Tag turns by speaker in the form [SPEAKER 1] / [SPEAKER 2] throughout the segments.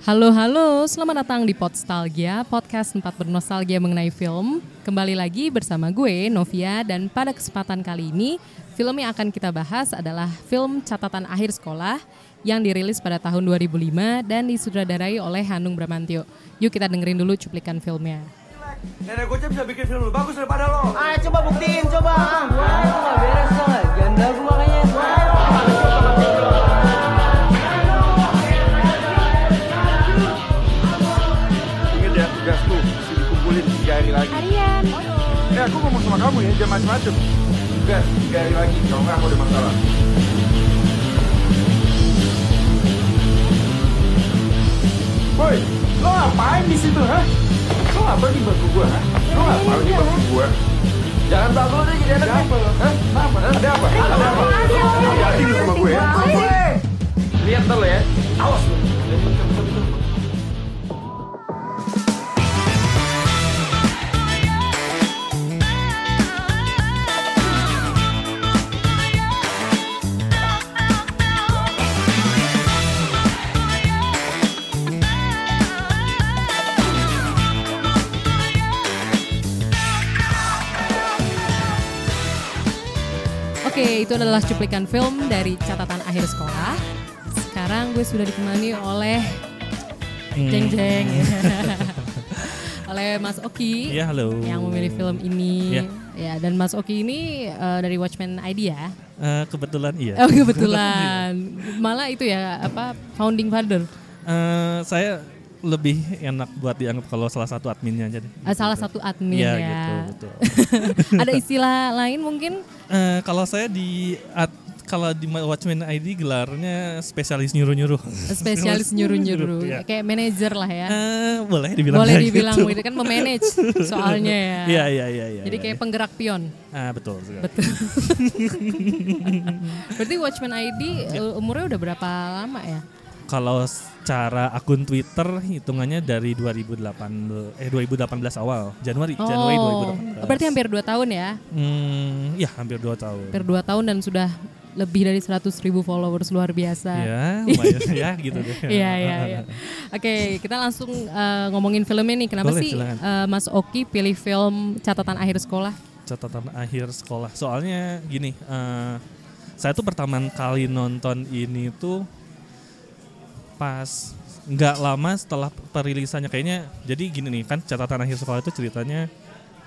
[SPEAKER 1] Halo halo, selamat datang di Podstalgia, podcast tempat bernostalgia mengenai film. Kembali lagi bersama gue Novia dan pada kesempatan kali ini film yang akan kita bahas adalah film Catatan Akhir Sekolah yang dirilis pada tahun 2005 dan disutradarai oleh Hanung Bramantyo. Yuk kita dengerin dulu cuplikan filmnya.
[SPEAKER 2] Nenek gue bisa bikin film lebih bagus daripada lo.
[SPEAKER 3] Ah, coba buktiin, coba.
[SPEAKER 4] Wah, itu nggak beres tau nggak? Janda gue makanya.
[SPEAKER 2] Ingat ya tugas lu mesti dikumpulin tiga hari lagi.
[SPEAKER 5] Harian.
[SPEAKER 2] Eh aku ngomong sama kamu ya jangan macem-macem. Tugas tiga hari lagi kalau nggak aku ada masalah. Boy, lo ngapain di situ, ha? Lo ngapain di bangku gua, ha? Lo ngapain di bangku gua? Jangan bangku lo deh jadi anak apa lo? Hah? Apa? Ada apa? Ada apa? Hati-hati lu sama gue ya. Lihat ntar lo ya. Awas lo.
[SPEAKER 1] Oke, itu adalah cuplikan film dari Catatan Akhir Sekolah. Sekarang gue sudah ditemani oleh Jeng Jeng. oleh Mas Oki
[SPEAKER 6] Iya, halo.
[SPEAKER 1] yang memilih film ini.
[SPEAKER 6] Iya.
[SPEAKER 1] Ya, dan Mas Oki ini eh, dari Watchmen ID ya.
[SPEAKER 6] Eh, kebetulan iya.
[SPEAKER 1] Oh, kebetulan. Malah itu ya apa founding father.
[SPEAKER 6] Eh, saya lebih enak buat dianggap kalau salah satu adminnya jadi.
[SPEAKER 1] Eh, salah satu admin
[SPEAKER 6] Iya,
[SPEAKER 1] ya.
[SPEAKER 6] gitu, betul.
[SPEAKER 1] Ada istilah lain mungkin?
[SPEAKER 6] Eh, kalau saya di ad- kalau di Watchmen ID gelarnya spesialis nyuruh-nyuruh.
[SPEAKER 1] Spesialis nyuruh-nyuruh.
[SPEAKER 6] Iya.
[SPEAKER 1] Kayak manajer lah ya.
[SPEAKER 6] Eh, boleh dibilang
[SPEAKER 1] Boleh
[SPEAKER 6] kayak
[SPEAKER 1] dibilang
[SPEAKER 6] gitu.
[SPEAKER 1] itu kan memanage soalnya ya.
[SPEAKER 6] Iya, iya, iya, iya.
[SPEAKER 1] Jadi
[SPEAKER 6] iya,
[SPEAKER 1] kayak
[SPEAKER 6] iya.
[SPEAKER 1] penggerak pion.
[SPEAKER 6] Ah, betul sekali.
[SPEAKER 1] Betul. Berarti Watchmen ID
[SPEAKER 6] Iya.
[SPEAKER 1] uh, umurnya udah berapa lama ya?
[SPEAKER 6] Kalau secara akun Twitter hitungannya dari 2018 eh 2018 awal, Januari, Januari
[SPEAKER 1] Oh.
[SPEAKER 6] 2018.
[SPEAKER 1] berarti hampir 2 tahun ya?
[SPEAKER 6] Hmm, ya hampir 2 tahun.
[SPEAKER 1] Hampir 2 tahun dan sudah lebih dari 100 ribu followers luar biasa.
[SPEAKER 6] Ya, lumayan ya gitu deh.
[SPEAKER 1] Iya, iya, iya. Oke, kita langsung uh, ngomongin filmnya nih. Kenapa
[SPEAKER 6] Boleh,
[SPEAKER 1] sih
[SPEAKER 6] silakan.
[SPEAKER 1] uh, Mas Oki pilih film Catatan Akhir Sekolah?
[SPEAKER 6] Catatan akhir sekolah. Soalnya gini, eh, saya tuh pertama kali nonton ini tuh pas nggak lama setelah perilisannya kayaknya. Jadi gini nih kan catatan akhir sekolah itu ceritanya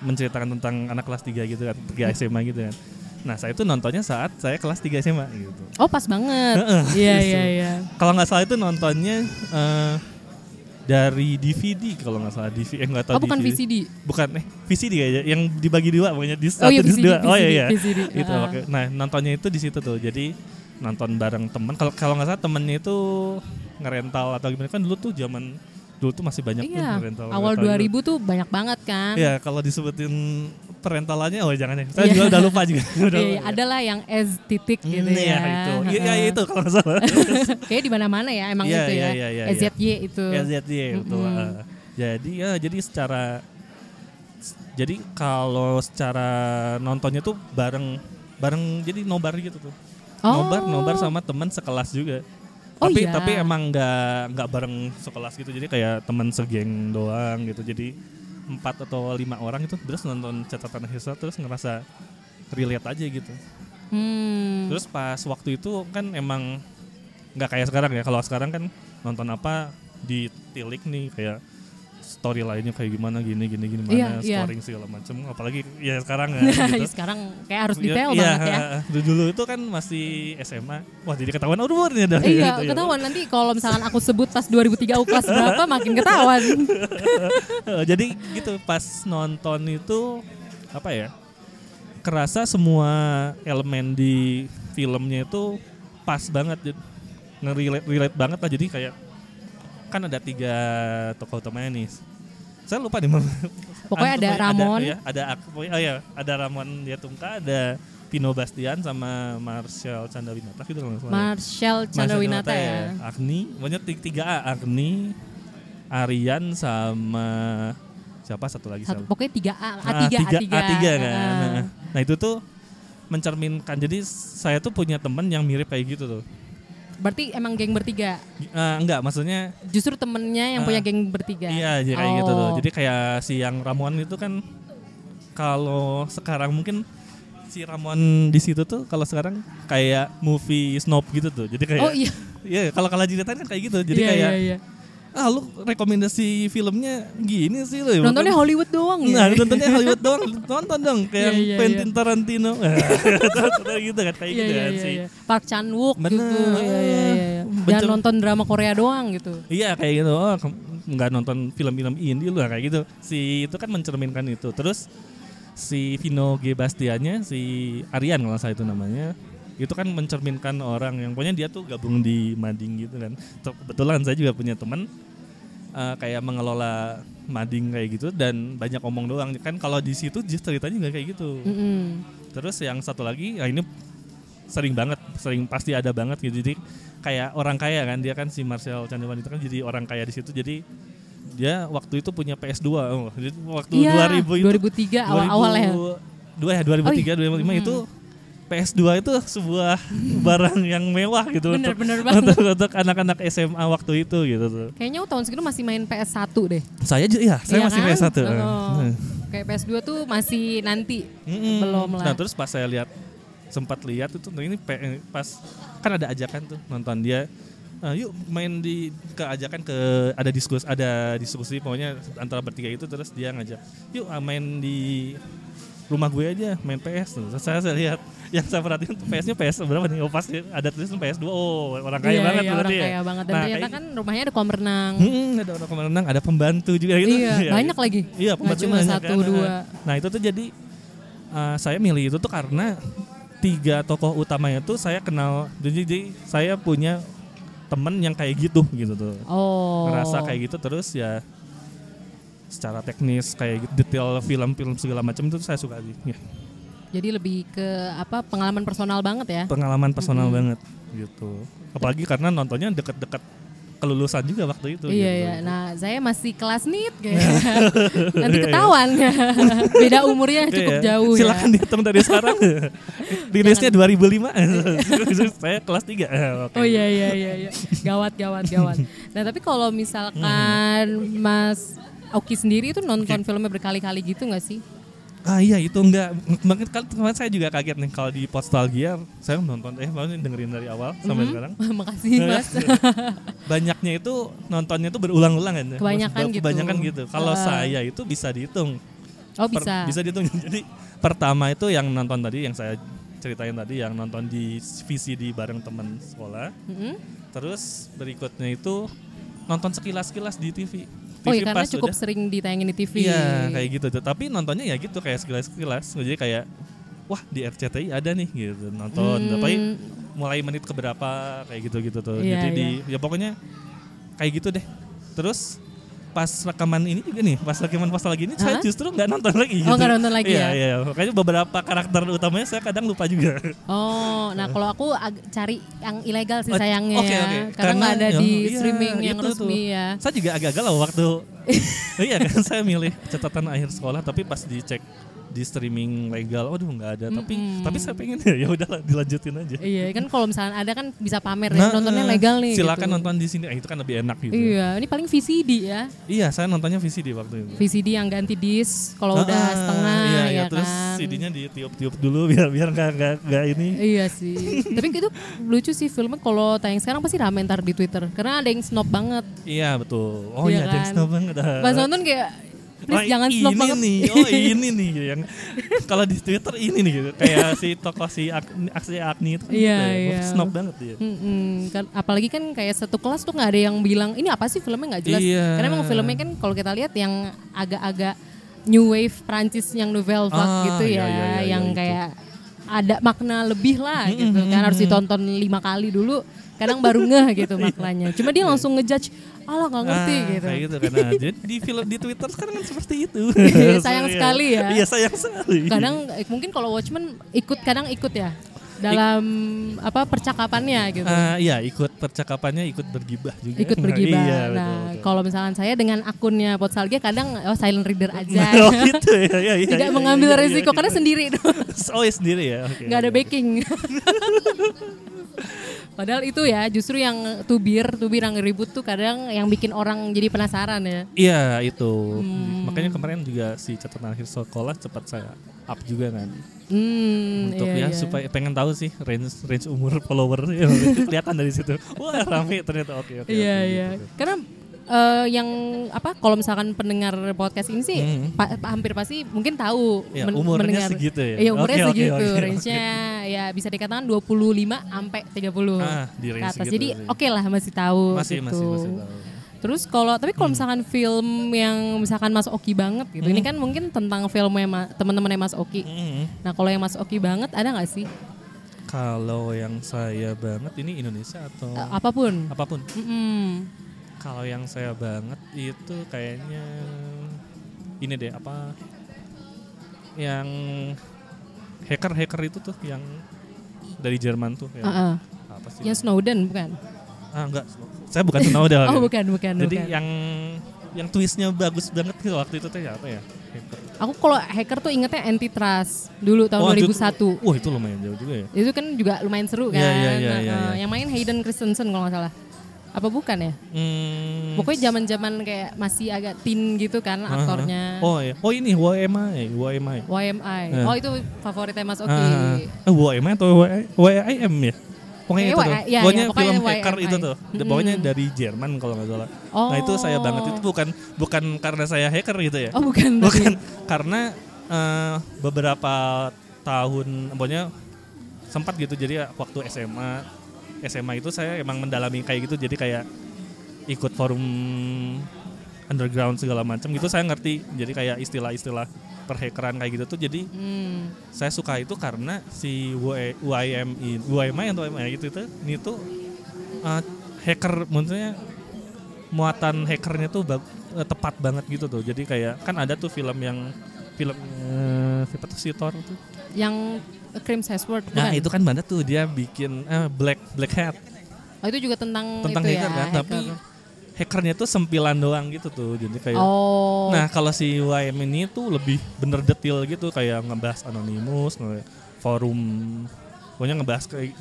[SPEAKER 6] menceritakan tentang anak kelas 3 gitu kan, 3
[SPEAKER 1] Hmm.
[SPEAKER 6] SMA gitu kan. Nah, saya tuh nontonnya saat saya kelas 3 SMA gitu.
[SPEAKER 1] Oh, pas banget. Iya,
[SPEAKER 6] gitu.
[SPEAKER 1] iya, iya.
[SPEAKER 6] Kalau nggak salah itu nontonnya eh, dari DVD kalau nggak salah DVD eh nggak tahu
[SPEAKER 1] Oh, bukan
[SPEAKER 6] DVD.
[SPEAKER 1] VCD.
[SPEAKER 6] bukan eh VCD kayaknya yang dibagi dua pokoknya di satu
[SPEAKER 1] iya,
[SPEAKER 6] di
[SPEAKER 1] VCD,
[SPEAKER 6] dua oh iya
[SPEAKER 1] VCD,
[SPEAKER 6] iya
[SPEAKER 1] VCD,
[SPEAKER 6] Gitu,
[SPEAKER 1] ah.
[SPEAKER 6] oke. nah nontonnya itu di situ tuh jadi nonton bareng temen kalau kalau nggak salah temennya itu ngerental atau gimana kan dulu tuh zaman dulu tuh masih banyak tuh
[SPEAKER 1] Iya,
[SPEAKER 6] ngerental
[SPEAKER 1] awal 2000 tuh banyak banget kan.
[SPEAKER 6] ya kalau disebutin perentalannya oh jangan ya saya
[SPEAKER 1] Iya.
[SPEAKER 6] juga udah lupa juga udah
[SPEAKER 1] Iya,
[SPEAKER 6] lupa.
[SPEAKER 1] adalah yang S titik gitu ya.
[SPEAKER 6] Hmm, iya, itu Iya, iya, itu kalau nggak salah
[SPEAKER 1] Kayak di mana-mana ya emang
[SPEAKER 6] Iya,
[SPEAKER 1] itu ya.
[SPEAKER 6] iya, iya, iya,
[SPEAKER 1] EZY itu.
[SPEAKER 6] SZY betul. Heeh. Jadi ya jadi secara s- jadi kalau secara nontonnya tuh bareng bareng jadi nobar gitu tuh.
[SPEAKER 1] Oh.
[SPEAKER 6] Nobar nobar sama teman sekelas juga.
[SPEAKER 1] Oh,
[SPEAKER 6] tapi
[SPEAKER 1] iya.
[SPEAKER 6] tapi emang nggak nggak bareng sekelas gitu. Jadi kayak teman segeng doang gitu. Jadi empat atau lima orang itu terus nonton catatan hisap terus ngerasa relate aja gitu.
[SPEAKER 1] Hmm.
[SPEAKER 6] Terus pas waktu itu kan emang nggak kayak sekarang ya. Kalau sekarang kan nonton apa ditilik nih kayak story lainnya kayak gimana gini gini gini
[SPEAKER 1] Iya,
[SPEAKER 6] mana
[SPEAKER 1] iya.
[SPEAKER 6] scoring segala macem apalagi ya sekarang ya
[SPEAKER 1] Nah,
[SPEAKER 6] gitu.
[SPEAKER 1] sekarang kayak harus
[SPEAKER 6] Iya,
[SPEAKER 1] detail
[SPEAKER 6] iya,
[SPEAKER 1] banget ya.
[SPEAKER 6] Dulu, dulu itu kan masih SMA. Wah, jadi ketahuan umurnya dah.
[SPEAKER 1] Iya,
[SPEAKER 6] gitu ya.
[SPEAKER 1] ketahuan nanti kalau misalkan aku sebut pas 2003 aku kelas berapa makin ketahuan.
[SPEAKER 6] Eh, jadi gitu pas nonton itu apa ya kerasa semua elemen di filmnya itu pas banget ngerelate relate banget lah jadi kayak kan ada tiga tokoh utamanya nih saya lupa nih Mam.
[SPEAKER 1] Pokoknya ada Ramon.
[SPEAKER 6] ada, ya, ada aku oh ya ada Ramon Diatungka ada Pino Bastian sama Marcel Chandrawinata gitu kalau nggak salah ya.
[SPEAKER 1] Marshall Chandrawinata
[SPEAKER 6] Marcel
[SPEAKER 1] ya.
[SPEAKER 6] Agni, banyak tiga, tiga A, Agni, Aryan sama siapa satu lagi
[SPEAKER 1] Satu,
[SPEAKER 6] siapa?
[SPEAKER 1] pokoknya 3A,
[SPEAKER 6] Ah,
[SPEAKER 1] A3,
[SPEAKER 6] tiga-
[SPEAKER 1] A3.
[SPEAKER 6] A3 kan.
[SPEAKER 1] Ah.
[SPEAKER 6] Nah, Nah, itu tuh mencerminkan. Jadi saya tuh punya teman yang mirip kayak gitu tuh.
[SPEAKER 1] Berarti emang geng bertiga.
[SPEAKER 6] Eh, enggak, maksudnya
[SPEAKER 1] Justru temennya yang punya
[SPEAKER 6] Ah,
[SPEAKER 1] geng bertiga.
[SPEAKER 6] iya jadi kayak gitu tuh.
[SPEAKER 1] Oh.
[SPEAKER 6] Jadi kayak si yang ramuan itu kan kalau sekarang mungkin si ramuan di situ tuh kalau sekarang kayak movie snob gitu tuh. Jadi kayak
[SPEAKER 1] Oh iya.
[SPEAKER 6] Iya, kalau kalah jilitan kan kayak gitu. Jadi
[SPEAKER 1] Iya, iya,
[SPEAKER 6] kayak
[SPEAKER 1] iya.
[SPEAKER 6] ah lu rekomendasi filmnya gini sih lu. ya,
[SPEAKER 1] Nontonnya Hollywood doang
[SPEAKER 6] Nah,
[SPEAKER 1] ya.
[SPEAKER 6] nontonnya Hollywood doang, nonton dong kayak
[SPEAKER 1] Iya, iya,
[SPEAKER 6] Quentin Tarantino. Nah, gitu kan kayak
[SPEAKER 1] Iya,
[SPEAKER 6] gitu
[SPEAKER 1] iya,
[SPEAKER 6] kan
[SPEAKER 1] iya,
[SPEAKER 6] sih.
[SPEAKER 1] iya. Park Chan Wook
[SPEAKER 6] Bener. Ah,
[SPEAKER 1] gitu. Iya, iya, iya, iya. Jangan
[SPEAKER 6] Betul.
[SPEAKER 1] nonton drama Korea doang gitu.
[SPEAKER 6] Iya kayak gitu, oh ke- nggak nonton film-film indie lu kayak gitu. Si itu kan mencerminkan itu. Terus si Vino G Bastiannya, si Aryan kalau saya itu namanya, itu kan mencerminkan orang yang punya dia tuh gabung di Mading gitu kan. Ter- Kebetulan saya juga punya teman eh, kayak mengelola Mading kayak gitu dan banyak omong doang kan kalau di situ just ceritanya nggak kayak gitu.
[SPEAKER 1] Mm-mm.
[SPEAKER 6] Terus yang satu lagi, ya ini sering banget, sering pasti ada banget gitu. Jadi kayak orang kaya kan, dia kan si Marcel Candiman itu kan jadi orang kaya di situ. Jadi dia waktu itu punya PS2. Oh, jadi waktu
[SPEAKER 1] Iya,
[SPEAKER 6] 2000 itu
[SPEAKER 1] 2003 awal-awal ya. Oh, iya. Hmm.
[SPEAKER 6] 2000 Dua ya, 2003, 2005 itu PS2 itu sebuah barang yang mewah gitu
[SPEAKER 1] Bener,
[SPEAKER 6] untuk,
[SPEAKER 1] bener banget.
[SPEAKER 6] untuk untuk anak-anak SMA waktu itu gitu tuh.
[SPEAKER 1] Kayaknya tahun segitu masih main PS1 deh.
[SPEAKER 6] Saya ju- iya, saya
[SPEAKER 1] Iya
[SPEAKER 6] masih
[SPEAKER 1] kan?
[SPEAKER 6] PS1.
[SPEAKER 1] Oh.
[SPEAKER 6] Nah.
[SPEAKER 1] Kayak PS2 tuh masih nanti.
[SPEAKER 6] Mm-mm.
[SPEAKER 1] Belum lah.
[SPEAKER 6] Nah terus pas saya lihat sempat lihat itu nah ini pe- pas kan ada ajakan tuh nonton dia "Eh, yuk main di ke ajakan ke ada diskus ada diskusi pokoknya antara bertiga itu terus dia ngajak yuk ah, main di rumah gue aja main PS tuh. Terus saya, saya lihat yang saya perhatiin tuh PS-nya PS berapa nih? Oh pasti ada tulisan PS2. Oh, orang kaya
[SPEAKER 1] Iya,
[SPEAKER 6] banget
[SPEAKER 1] iya,
[SPEAKER 6] berarti.
[SPEAKER 1] orang
[SPEAKER 6] ya.
[SPEAKER 1] kaya banget. Dan
[SPEAKER 6] Nah,
[SPEAKER 1] ternyata
[SPEAKER 6] kayak-
[SPEAKER 1] kan rumahnya ada kolam renang.
[SPEAKER 6] Mm-mm, ada orang kolam renang, ada pembantu juga gitu.
[SPEAKER 1] Iya,
[SPEAKER 6] Ya,
[SPEAKER 1] banyak lagi.
[SPEAKER 6] Iya,
[SPEAKER 1] Nggak
[SPEAKER 6] pembantu
[SPEAKER 1] cuma
[SPEAKER 6] banyak
[SPEAKER 1] satu,
[SPEAKER 6] kan.
[SPEAKER 1] dua.
[SPEAKER 6] Nah, itu tuh jadi eh, saya milih itu tuh karena tiga tokoh utamanya tuh saya kenal. Jadi, jadi saya punya temen yang kayak gitu gitu tuh.
[SPEAKER 1] Oh.
[SPEAKER 6] Ngerasa kayak gitu terus ya secara teknis kayak gitu, detail film-film segala macam itu saya suka sih. Ya,
[SPEAKER 1] Jadi lebih ke apa pengalaman personal banget ya.
[SPEAKER 6] pengalaman personal banget gitu. Apalagi karena nontonnya deket-deket kelulusan juga waktu itu.
[SPEAKER 1] Iya
[SPEAKER 6] gitu.
[SPEAKER 1] iya. Nah, saya masih kelas nit kayaknya.
[SPEAKER 6] Iya.
[SPEAKER 1] Nanti ketahuan ya. Beda umurnya
[SPEAKER 6] Oke
[SPEAKER 1] cukup
[SPEAKER 6] ya.
[SPEAKER 1] jauh ya.
[SPEAKER 6] Silakan dihitung dari sekarang. Rilisnya 2005. Saya kelas 3.
[SPEAKER 1] Oh iya iya iya iya. Gawat gawat gawat. Nah, tapi kalau misalkan
[SPEAKER 6] Hmm.
[SPEAKER 1] Mas Oki sendiri itu nonton filmnya berkali-kali gitu nggak sih?
[SPEAKER 6] Ah iya itu enggak. Makanya kan kemarin saya juga kaget nih kalau di Postalgia saya nonton eh maksudnya dengerin dari awal
[SPEAKER 1] Mm-hmm.
[SPEAKER 6] sampai sekarang.
[SPEAKER 1] Makasih
[SPEAKER 6] ya.
[SPEAKER 1] Mas.
[SPEAKER 6] Banyaknya itu nontonnya itu berulang-ulang kan.
[SPEAKER 1] Kebanyakan gitu.
[SPEAKER 6] Kebanyakan gitu. Kalau
[SPEAKER 1] Ah.
[SPEAKER 6] saya itu bisa dihitung.
[SPEAKER 1] Oh
[SPEAKER 6] Per-
[SPEAKER 1] bisa.
[SPEAKER 6] bisa dihitung. Jadi pertama itu yang nonton tadi yang saya ceritain tadi yang nonton di VCD bareng teman sekolah.
[SPEAKER 1] Mm-mm.
[SPEAKER 6] Terus berikutnya itu nonton sekilas-kilas di TV. TV
[SPEAKER 1] Oh iya karena cukup
[SPEAKER 6] udah-
[SPEAKER 1] sering ditayangin di TV.
[SPEAKER 6] Iya, kayak gitu. tuh. Tapi nontonnya ya gitu kayak sekilas-kilas. Jadi kayak wah di RCTI ada nih gitu nonton.
[SPEAKER 1] Hmm.
[SPEAKER 6] Tapi mulai menit keberapa kayak gitu-gitu tuh.
[SPEAKER 1] Iya,
[SPEAKER 6] Jadi di ya pokoknya kayak gitu deh. Terus pas rekaman ini juga nih, pas rekaman pas lagi ini
[SPEAKER 1] Hah?
[SPEAKER 6] saya justru nggak nonton lagi gitu.
[SPEAKER 1] Oh, nggak nonton lagi
[SPEAKER 6] iya,
[SPEAKER 1] ya?
[SPEAKER 6] Iya, Makanya beberapa karakter utamanya saya kadang lupa juga.
[SPEAKER 1] Oh, nah kalau aku ag- cari yang ilegal sih
[SPEAKER 6] gitu. Oh,
[SPEAKER 1] sayangnya
[SPEAKER 6] oke,
[SPEAKER 1] ya.
[SPEAKER 6] oke.
[SPEAKER 1] Karena nggak ada
[SPEAKER 6] ya,
[SPEAKER 1] di
[SPEAKER 6] iya,
[SPEAKER 1] streaming yang
[SPEAKER 6] itu
[SPEAKER 1] resmi
[SPEAKER 6] tuh.
[SPEAKER 1] ya.
[SPEAKER 6] Saya juga agak galau waktu iya kan saya milih catatan akhir sekolah tapi pas dicek di streaming legal, aduh nggak ada. Tapi
[SPEAKER 1] Mm-mm.
[SPEAKER 6] tapi saya pengen ya udahlah dilanjutin aja.
[SPEAKER 1] Iya, kan kalau misalnya ada kan bisa pamer ya.
[SPEAKER 6] Nah,
[SPEAKER 1] Nontonnya legal nih.
[SPEAKER 6] Silakan
[SPEAKER 1] gitu.
[SPEAKER 6] nonton di sini. Ah, itu kan lebih enak gitu.
[SPEAKER 1] Iya, ini paling VCD ya.
[SPEAKER 6] Iya, saya nontonnya VCD waktu itu.
[SPEAKER 1] VCD yang ganti disk kalau
[SPEAKER 6] Ah,
[SPEAKER 1] udah setengah
[SPEAKER 6] iya,
[SPEAKER 1] ya,
[SPEAKER 6] iya. terus
[SPEAKER 1] kan.
[SPEAKER 6] CD-nya ditiup-tiup dulu biar biar nggak nggak nggak ini.
[SPEAKER 1] Iya sih. Tapi itu lucu sih filmnya kalau tayang sekarang pasti rame ntar di Twitter. Karena ada yang snob banget.
[SPEAKER 6] Iya betul. Oh
[SPEAKER 1] Iya
[SPEAKER 6] iya, ada yang
[SPEAKER 1] kan?
[SPEAKER 6] snob banget. Ah.
[SPEAKER 1] Pas nonton kayak please
[SPEAKER 6] Wah,
[SPEAKER 1] jangan snob
[SPEAKER 6] Nah, ini
[SPEAKER 1] banget.
[SPEAKER 6] nih, oh ini nih yang kalau di Twitter ini nih gitu. Kayak si tokoh si Ak- aksi Agni itu kan
[SPEAKER 1] Iya,
[SPEAKER 6] gitu ya.
[SPEAKER 1] iya.
[SPEAKER 6] snob banget dia.
[SPEAKER 1] Mm-mm. Kan, apalagi kan kayak satu kelas tuh nggak ada yang bilang ini apa sih filmnya nggak jelas.
[SPEAKER 6] Iya.
[SPEAKER 1] Karena emang filmnya kan kalau kita lihat yang agak-agak new wave Prancis yang Nouvelle Vague
[SPEAKER 6] Ah,
[SPEAKER 1] gitu
[SPEAKER 6] iya,
[SPEAKER 1] ya,
[SPEAKER 6] iya, iya,
[SPEAKER 1] yang
[SPEAKER 6] iya, itu.
[SPEAKER 1] kayak ada makna lebih lah gitu kan harus ditonton lima kali dulu kadang baru ngeh gitu maknanya. Cuma dia langsung ngejudge, Allah nggak ngerti
[SPEAKER 6] Iya. Ah,
[SPEAKER 1] gitu.
[SPEAKER 6] Kayak gitu kan. Nah, jadi di film di Twitter sekarang kan seperti itu.
[SPEAKER 1] Sayang sekali ya.
[SPEAKER 6] Iya, sayang sekali.
[SPEAKER 1] Kadang eh, mungkin kalau Watchmen ikut kadang ikut ya dalam apa percakapannya gitu.
[SPEAKER 6] Ah, iya, ikut percakapannya ikut bergibah juga.
[SPEAKER 1] ikut bergibah.
[SPEAKER 6] Iya, betul,
[SPEAKER 1] nah,
[SPEAKER 6] betul.
[SPEAKER 1] kalau misalkan saya dengan akunnya Potsalgia kadang oh silent reader aja.
[SPEAKER 6] Oh, gitu ya. Iya, iya,
[SPEAKER 1] Tidak
[SPEAKER 6] iya,
[SPEAKER 1] mengambil
[SPEAKER 6] iya, iya,
[SPEAKER 1] resiko
[SPEAKER 6] iya.
[SPEAKER 1] karena sendiri tuh.
[SPEAKER 6] Oh, ya sendiri ya. Oke.
[SPEAKER 1] nggak ada
[SPEAKER 6] oke.
[SPEAKER 1] backing. Padahal itu ya justru yang tubir, tubir yang ribut tuh kadang yang bikin orang jadi penasaran ya.
[SPEAKER 6] Iya itu.
[SPEAKER 1] Hmm.
[SPEAKER 6] Makanya kemarin juga si catatan akhir sekolah cepat saya up juga kan.
[SPEAKER 1] Hmm,
[SPEAKER 6] Untuk
[SPEAKER 1] iya,
[SPEAKER 6] ya
[SPEAKER 1] iya.
[SPEAKER 6] supaya pengen tahu sih range range umur follower ya, kelihatan dari situ. Wah rame ternyata oke oke. oke,
[SPEAKER 1] Iya iya.
[SPEAKER 6] gitu.
[SPEAKER 1] Karena eh, yang apa kalau misalkan pendengar podcast ini sih
[SPEAKER 6] Hmm.
[SPEAKER 1] pa- pa- hampir pasti mungkin tahu
[SPEAKER 6] Iya, umurnya segitu ya?
[SPEAKER 1] Iya, umurnya
[SPEAKER 6] Oke, oke,
[SPEAKER 1] segitu.
[SPEAKER 6] oke, oke.
[SPEAKER 1] range-nya ya bisa dikatakan 25 sampai 30.
[SPEAKER 6] Ah, di
[SPEAKER 1] ke
[SPEAKER 6] range
[SPEAKER 1] atas.
[SPEAKER 6] segitu
[SPEAKER 1] Jadi
[SPEAKER 6] sih.
[SPEAKER 1] oke lah masih tahu
[SPEAKER 6] Masih
[SPEAKER 1] gitu.
[SPEAKER 6] masih masih tahu. Hmm.
[SPEAKER 1] Terus kalau tapi kalau misalkan film yang misalkan Mas Oki banget gitu. Ini kan mungkin tentang filmnya Ma- teman-temannya Mas Oki.
[SPEAKER 6] Mm.
[SPEAKER 1] Nah, kalau yang Mas Oki banget ada nggak sih?
[SPEAKER 6] Kalau yang saya banget ini Indonesia atau
[SPEAKER 1] Eh, apapun.
[SPEAKER 6] apapun.
[SPEAKER 1] Mm-mm.
[SPEAKER 6] Kalau yang saya banget itu kayaknya ini deh apa yang hacker hacker itu tuh yang dari Jerman tuh yang
[SPEAKER 1] Uh-uh.
[SPEAKER 6] apa sih?
[SPEAKER 1] Yang Snowden bukan?
[SPEAKER 6] Ah enggak, saya bukan Snowden.
[SPEAKER 1] Oh, bukan, bukan,
[SPEAKER 6] Jadi
[SPEAKER 1] bukan.
[SPEAKER 6] yang yang twistnya bagus banget gitu waktu itu tuh ya apa ya? Hacker.
[SPEAKER 1] Aku kalau hacker tuh ingetnya antitrust dulu tahun
[SPEAKER 6] Oh, itu-
[SPEAKER 1] 2001.
[SPEAKER 6] Wah itu lumayan jauh juga ya.
[SPEAKER 1] Itu kan juga lumayan seru kan.
[SPEAKER 6] Iya, iya, iya,
[SPEAKER 1] Nah,
[SPEAKER 6] iya,
[SPEAKER 1] eh,
[SPEAKER 6] iya.
[SPEAKER 1] Yang main Hayden Christensen kalau nggak salah. Apa bukan ya?
[SPEAKER 6] Hmm,
[SPEAKER 1] Pokoknya zaman-zaman kayak masih agak teen gitu kan
[SPEAKER 6] ah, ah.
[SPEAKER 1] aktornya.
[SPEAKER 6] Oh iya. oh ini YMI, YMI.
[SPEAKER 1] YMI.
[SPEAKER 6] Eh.
[SPEAKER 1] Oh itu favoritnya Mas Oki.
[SPEAKER 6] Ah, eh, YMI atau YIM ya?
[SPEAKER 1] Kayaknya
[SPEAKER 6] Pokoknya itu tuh.
[SPEAKER 1] Y- iya,
[SPEAKER 6] pokoknya
[SPEAKER 1] iya, pokoknya
[SPEAKER 6] film hacker
[SPEAKER 1] YMI.
[SPEAKER 6] itu tuh.
[SPEAKER 1] Mm-mm.
[SPEAKER 6] Pokoknya dari Jerman kalau nggak salah. Nah itu saya banget itu bukan bukan karena saya hacker gitu ya.
[SPEAKER 1] Oh bukan.
[SPEAKER 6] bukan karena eh, beberapa tahun pokoknya sempat gitu jadi waktu SMA SMA itu saya emang mendalami kayak gitu jadi kayak ikut forum underground segala macam gitu saya ngerti jadi kayak istilah-istilah perhackeran kayak gitu tuh jadi
[SPEAKER 1] Hmm.
[SPEAKER 6] saya suka itu karena si Y- YMI YMI atau YMI gitu itu ini tuh uh, hacker maksudnya muatan hackernya tuh bag- eh, tepat banget gitu tuh jadi kayak kan ada tuh film yang film eh, siapa tuh si Thor tuh
[SPEAKER 1] Yang Crimes Hemsworth bukan?
[SPEAKER 6] nah itu kan banget tuh dia bikin eh, black black hat
[SPEAKER 1] Oh itu juga tentang,
[SPEAKER 6] tentang
[SPEAKER 1] itu
[SPEAKER 6] hacker
[SPEAKER 1] ya.
[SPEAKER 6] kan tapi hackernya tuh sempilan doang gitu tuh jadi kayak
[SPEAKER 1] Oh.
[SPEAKER 6] Nah kalau si YM ini tuh lebih bener detail gitu kayak ngebahas anonimus, nge- forum, pokoknya ngebahas kayak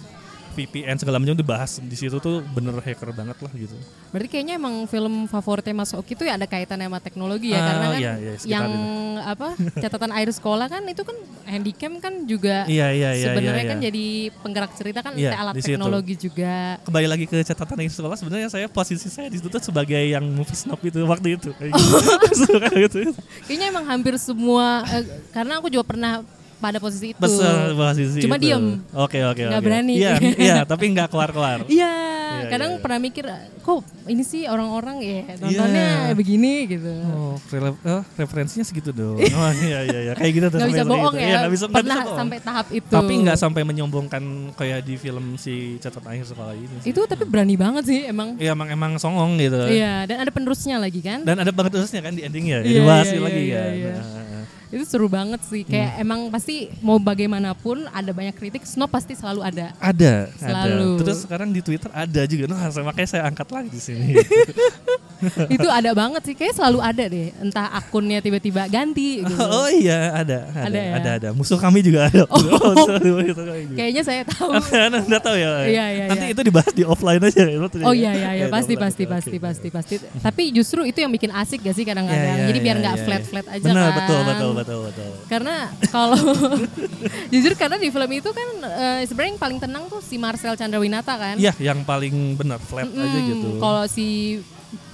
[SPEAKER 6] VPN segala macam tuh bahas di situ tuh bener hacker banget lah gitu.
[SPEAKER 1] Berarti kayaknya emang film favoritnya Mas Oki itu ya ada kaitannya sama teknologi ya
[SPEAKER 6] Ah,
[SPEAKER 1] karena kan
[SPEAKER 6] iya, iya, sekitar
[SPEAKER 1] yang
[SPEAKER 6] itu.
[SPEAKER 1] apa catatan air sekolah kan itu kan handycam kan juga
[SPEAKER 6] Iya iya iya.
[SPEAKER 1] sebenarnya
[SPEAKER 6] iya,
[SPEAKER 1] kan
[SPEAKER 6] iya.
[SPEAKER 1] jadi penggerak cerita kan
[SPEAKER 6] Iya,
[SPEAKER 1] alat
[SPEAKER 6] di situ.
[SPEAKER 1] teknologi juga.
[SPEAKER 6] kembali lagi ke catatan dari sekolah sebenarnya saya posisi saya di situ tuh sebagai yang movie snob itu waktu itu kayak gitu. Suka gitu.
[SPEAKER 1] Kayaknya emang hampir semua eh, karena aku juga pernah pada posisi itu.
[SPEAKER 6] Besar eh, posisi
[SPEAKER 1] Cuma
[SPEAKER 6] itu.
[SPEAKER 1] diem.
[SPEAKER 6] Oke oke oke.
[SPEAKER 1] Nggak berani.
[SPEAKER 6] Iya iya tapi nggak keluar keluar.
[SPEAKER 1] Iya,
[SPEAKER 6] Iya,
[SPEAKER 1] kadang
[SPEAKER 6] iya, iya.
[SPEAKER 1] pernah mikir kok ini sih orang-orang ya nontonnya
[SPEAKER 6] Iya.
[SPEAKER 1] begini gitu.
[SPEAKER 6] Oh, rele- eh, referensinya segitu dong. Oh iya iya iya kayak gitu tuh.
[SPEAKER 1] Gak bisa
[SPEAKER 6] sampai- sampai
[SPEAKER 1] bohong
[SPEAKER 6] gitu.
[SPEAKER 1] ya.
[SPEAKER 6] Iya, nggak bisa nggak
[SPEAKER 1] pernah
[SPEAKER 6] bisa bohong.
[SPEAKER 1] sampai tahap itu.
[SPEAKER 6] Tapi nggak sampai menyombongkan kayak di film si catatan akhir sekolah ini. Sih.
[SPEAKER 1] Itu tapi berani banget sih emang.
[SPEAKER 6] Iya emang emang songong gitu.
[SPEAKER 1] Iya, dan ada penerusnya lagi kan?
[SPEAKER 6] Dan ada banget terusnya kan di endingnya.
[SPEAKER 1] Iya,
[SPEAKER 6] Dibahas
[SPEAKER 1] iya,
[SPEAKER 6] lagi
[SPEAKER 1] iya,
[SPEAKER 6] kan.
[SPEAKER 1] iya.
[SPEAKER 6] Nah,
[SPEAKER 1] Itu seru banget sih. Kayak
[SPEAKER 6] Hmm.
[SPEAKER 1] emang pasti mau bagaimanapun ada banyak kritik, snow pasti selalu ada.
[SPEAKER 6] Ada,
[SPEAKER 1] Selalu.
[SPEAKER 6] ada. Terus sekarang di Twitter ada juga. Nah, saya- makanya saya angkat lagi di sini.
[SPEAKER 1] itu ada banget sih. Kayak selalu ada deh. Entah akunnya tiba-tiba ganti gitu.
[SPEAKER 6] oh iya, ada, ada,
[SPEAKER 1] Ada
[SPEAKER 6] ada,
[SPEAKER 1] ya?
[SPEAKER 6] ada, Musuh kami juga ada. Oh, musuh kami juga.
[SPEAKER 1] Kayaknya saya tahu.
[SPEAKER 6] Anda nggak tahu ya.
[SPEAKER 1] Iya, iya,
[SPEAKER 6] Nanti
[SPEAKER 1] iya.
[SPEAKER 6] itu dibahas di offline aja. ya, betul ya?
[SPEAKER 1] Oh iya iya iya
[SPEAKER 6] Iya,
[SPEAKER 1] pasti
[SPEAKER 6] di offline.
[SPEAKER 1] pasti
[SPEAKER 6] Oke,
[SPEAKER 1] pasti
[SPEAKER 6] oke.
[SPEAKER 1] pasti pasti. Tapi justru itu yang bikin asik gak sih kadang-kadang.
[SPEAKER 6] Iya, iya,
[SPEAKER 1] Jadi biar
[SPEAKER 6] iya,
[SPEAKER 1] nggak
[SPEAKER 6] iya,
[SPEAKER 1] flat flat
[SPEAKER 6] iya.
[SPEAKER 1] aja
[SPEAKER 6] Benar,
[SPEAKER 1] kan.
[SPEAKER 6] betul, betul, betul, betul.
[SPEAKER 1] Karena kalau jujur karena di film itu kan eh, sebenarnya yang paling tenang tuh si Marcel Chandrawinata kan.
[SPEAKER 6] Iya, yang paling benar flat aja
[SPEAKER 1] Mm,
[SPEAKER 6] gitu.
[SPEAKER 1] Kalau si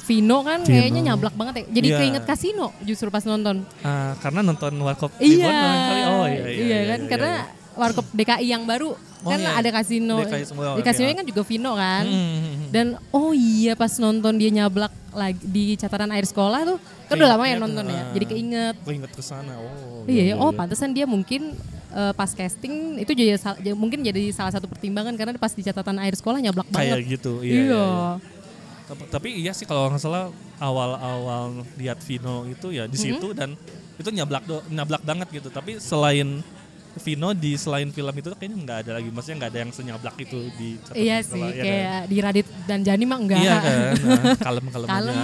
[SPEAKER 1] Vino kan
[SPEAKER 6] Vino.
[SPEAKER 1] kayaknya nyablak banget ya. Jadi
[SPEAKER 6] Iya.
[SPEAKER 1] keinget kasino justru pas nonton.
[SPEAKER 6] Ah, karena nonton Warkop Reborn
[SPEAKER 1] Iya.
[SPEAKER 6] doang kali. Oh iya iya.
[SPEAKER 1] Iya kan karena Warkop DKI yang baru
[SPEAKER 6] Oh,
[SPEAKER 1] kan
[SPEAKER 6] iya.
[SPEAKER 1] ada kasino.
[SPEAKER 6] DKI semua,
[SPEAKER 1] Di
[SPEAKER 6] oke.
[SPEAKER 1] kasinonya kan juga Vino kan.
[SPEAKER 6] Hmm.
[SPEAKER 1] Dan oh iya pas nonton dia nyablak lagi di catatan air sekolah tuh kan udah lama ya
[SPEAKER 6] Keingetnya,
[SPEAKER 1] nonton ya.
[SPEAKER 6] ah.
[SPEAKER 1] Jadi keinget.
[SPEAKER 6] Gue inget ke sana. Oh.
[SPEAKER 1] Iya, oh pantesan dia mungkin eh, pas casting itu jadi sal- jadi- mungkin jadi salah satu pertimbangan karena pas di catatan air sekolah nyablak
[SPEAKER 6] Kayak
[SPEAKER 1] banget.
[SPEAKER 6] gitu. Iya.
[SPEAKER 1] iya.
[SPEAKER 6] iya, iya. Tapi, tapi iya sih kalau nggak salah awal-awal lihat Vino itu ya di situ
[SPEAKER 1] Mm-hmm.
[SPEAKER 6] dan itu nyablak do, nyablak banget gitu. Tapi selain Vino di selain film itu tuh kayaknya nggak ada lagi. Maksudnya nggak ada yang senyablak itu di catatan
[SPEAKER 1] Iya
[SPEAKER 6] sekolah,
[SPEAKER 1] sih,
[SPEAKER 6] ya Iya kan? Ah,
[SPEAKER 1] kayak di Radit dan Jani mah enggak.
[SPEAKER 6] Iya kan, nah, kalem-kalem aja.
[SPEAKER 1] Kalem,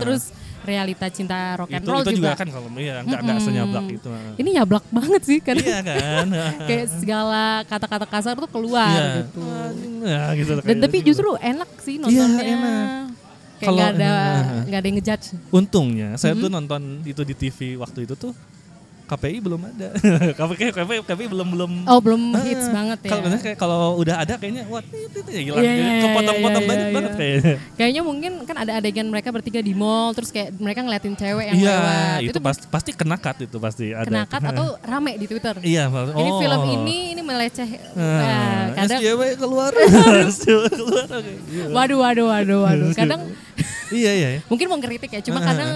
[SPEAKER 1] terus realita cinta rock and
[SPEAKER 6] itu
[SPEAKER 1] roll
[SPEAKER 6] itu
[SPEAKER 1] juga.
[SPEAKER 6] juga. kan kalau ya nggak nggak senyablak itu Ah.
[SPEAKER 1] Ini nyablak banget sih karena
[SPEAKER 6] iya kan
[SPEAKER 1] kayak segala kata-kata kasar tuh keluar
[SPEAKER 6] Iya.
[SPEAKER 1] gitu.
[SPEAKER 6] Ya, gitu
[SPEAKER 1] Dan
[SPEAKER 6] kayak
[SPEAKER 1] tapi
[SPEAKER 6] gitu.
[SPEAKER 1] justru enak sih nontonnya.
[SPEAKER 6] enak.
[SPEAKER 1] Kayak
[SPEAKER 6] Kalau-
[SPEAKER 1] nggak ada
[SPEAKER 6] Iya.
[SPEAKER 1] nggak ada yang ngejudge.
[SPEAKER 6] untungnya saya
[SPEAKER 1] Mm-hmm.
[SPEAKER 6] tuh nonton itu di TV waktu itu tuh KPI belum ada KPI KPI, KPI belum belum
[SPEAKER 1] Oh belum
[SPEAKER 6] Ah,
[SPEAKER 1] hits banget ya.
[SPEAKER 6] Kalau bener kayak kalau udah ada kayaknya wah itu itu ya gila.
[SPEAKER 1] Iya, iya, iya,
[SPEAKER 6] Kepotong-potong
[SPEAKER 1] iya,
[SPEAKER 6] banyak
[SPEAKER 1] iya.
[SPEAKER 6] banget kayaknya.
[SPEAKER 1] Kayaknya mungkin kan ada adegan mereka bertiga di mall terus kayak mereka ngeliatin cewek yang
[SPEAKER 6] Iya,
[SPEAKER 1] lewat.
[SPEAKER 6] itu, pasti pasti kenakat itu pasti ada.
[SPEAKER 1] kenakat atau rame di Twitter.
[SPEAKER 6] Iya, pasti.
[SPEAKER 1] Ini
[SPEAKER 6] Oh.
[SPEAKER 1] film ini ini meleceh. Nah,
[SPEAKER 6] Ah,
[SPEAKER 1] kadang
[SPEAKER 6] SJW keluar. SJW keluar. oke. Iya.
[SPEAKER 1] waduh waduh waduh waduh. Kadang
[SPEAKER 6] Iya, iya. iya.
[SPEAKER 1] mungkin mau kritik ya, cuma
[SPEAKER 6] Ah. Hmm.
[SPEAKER 1] kadang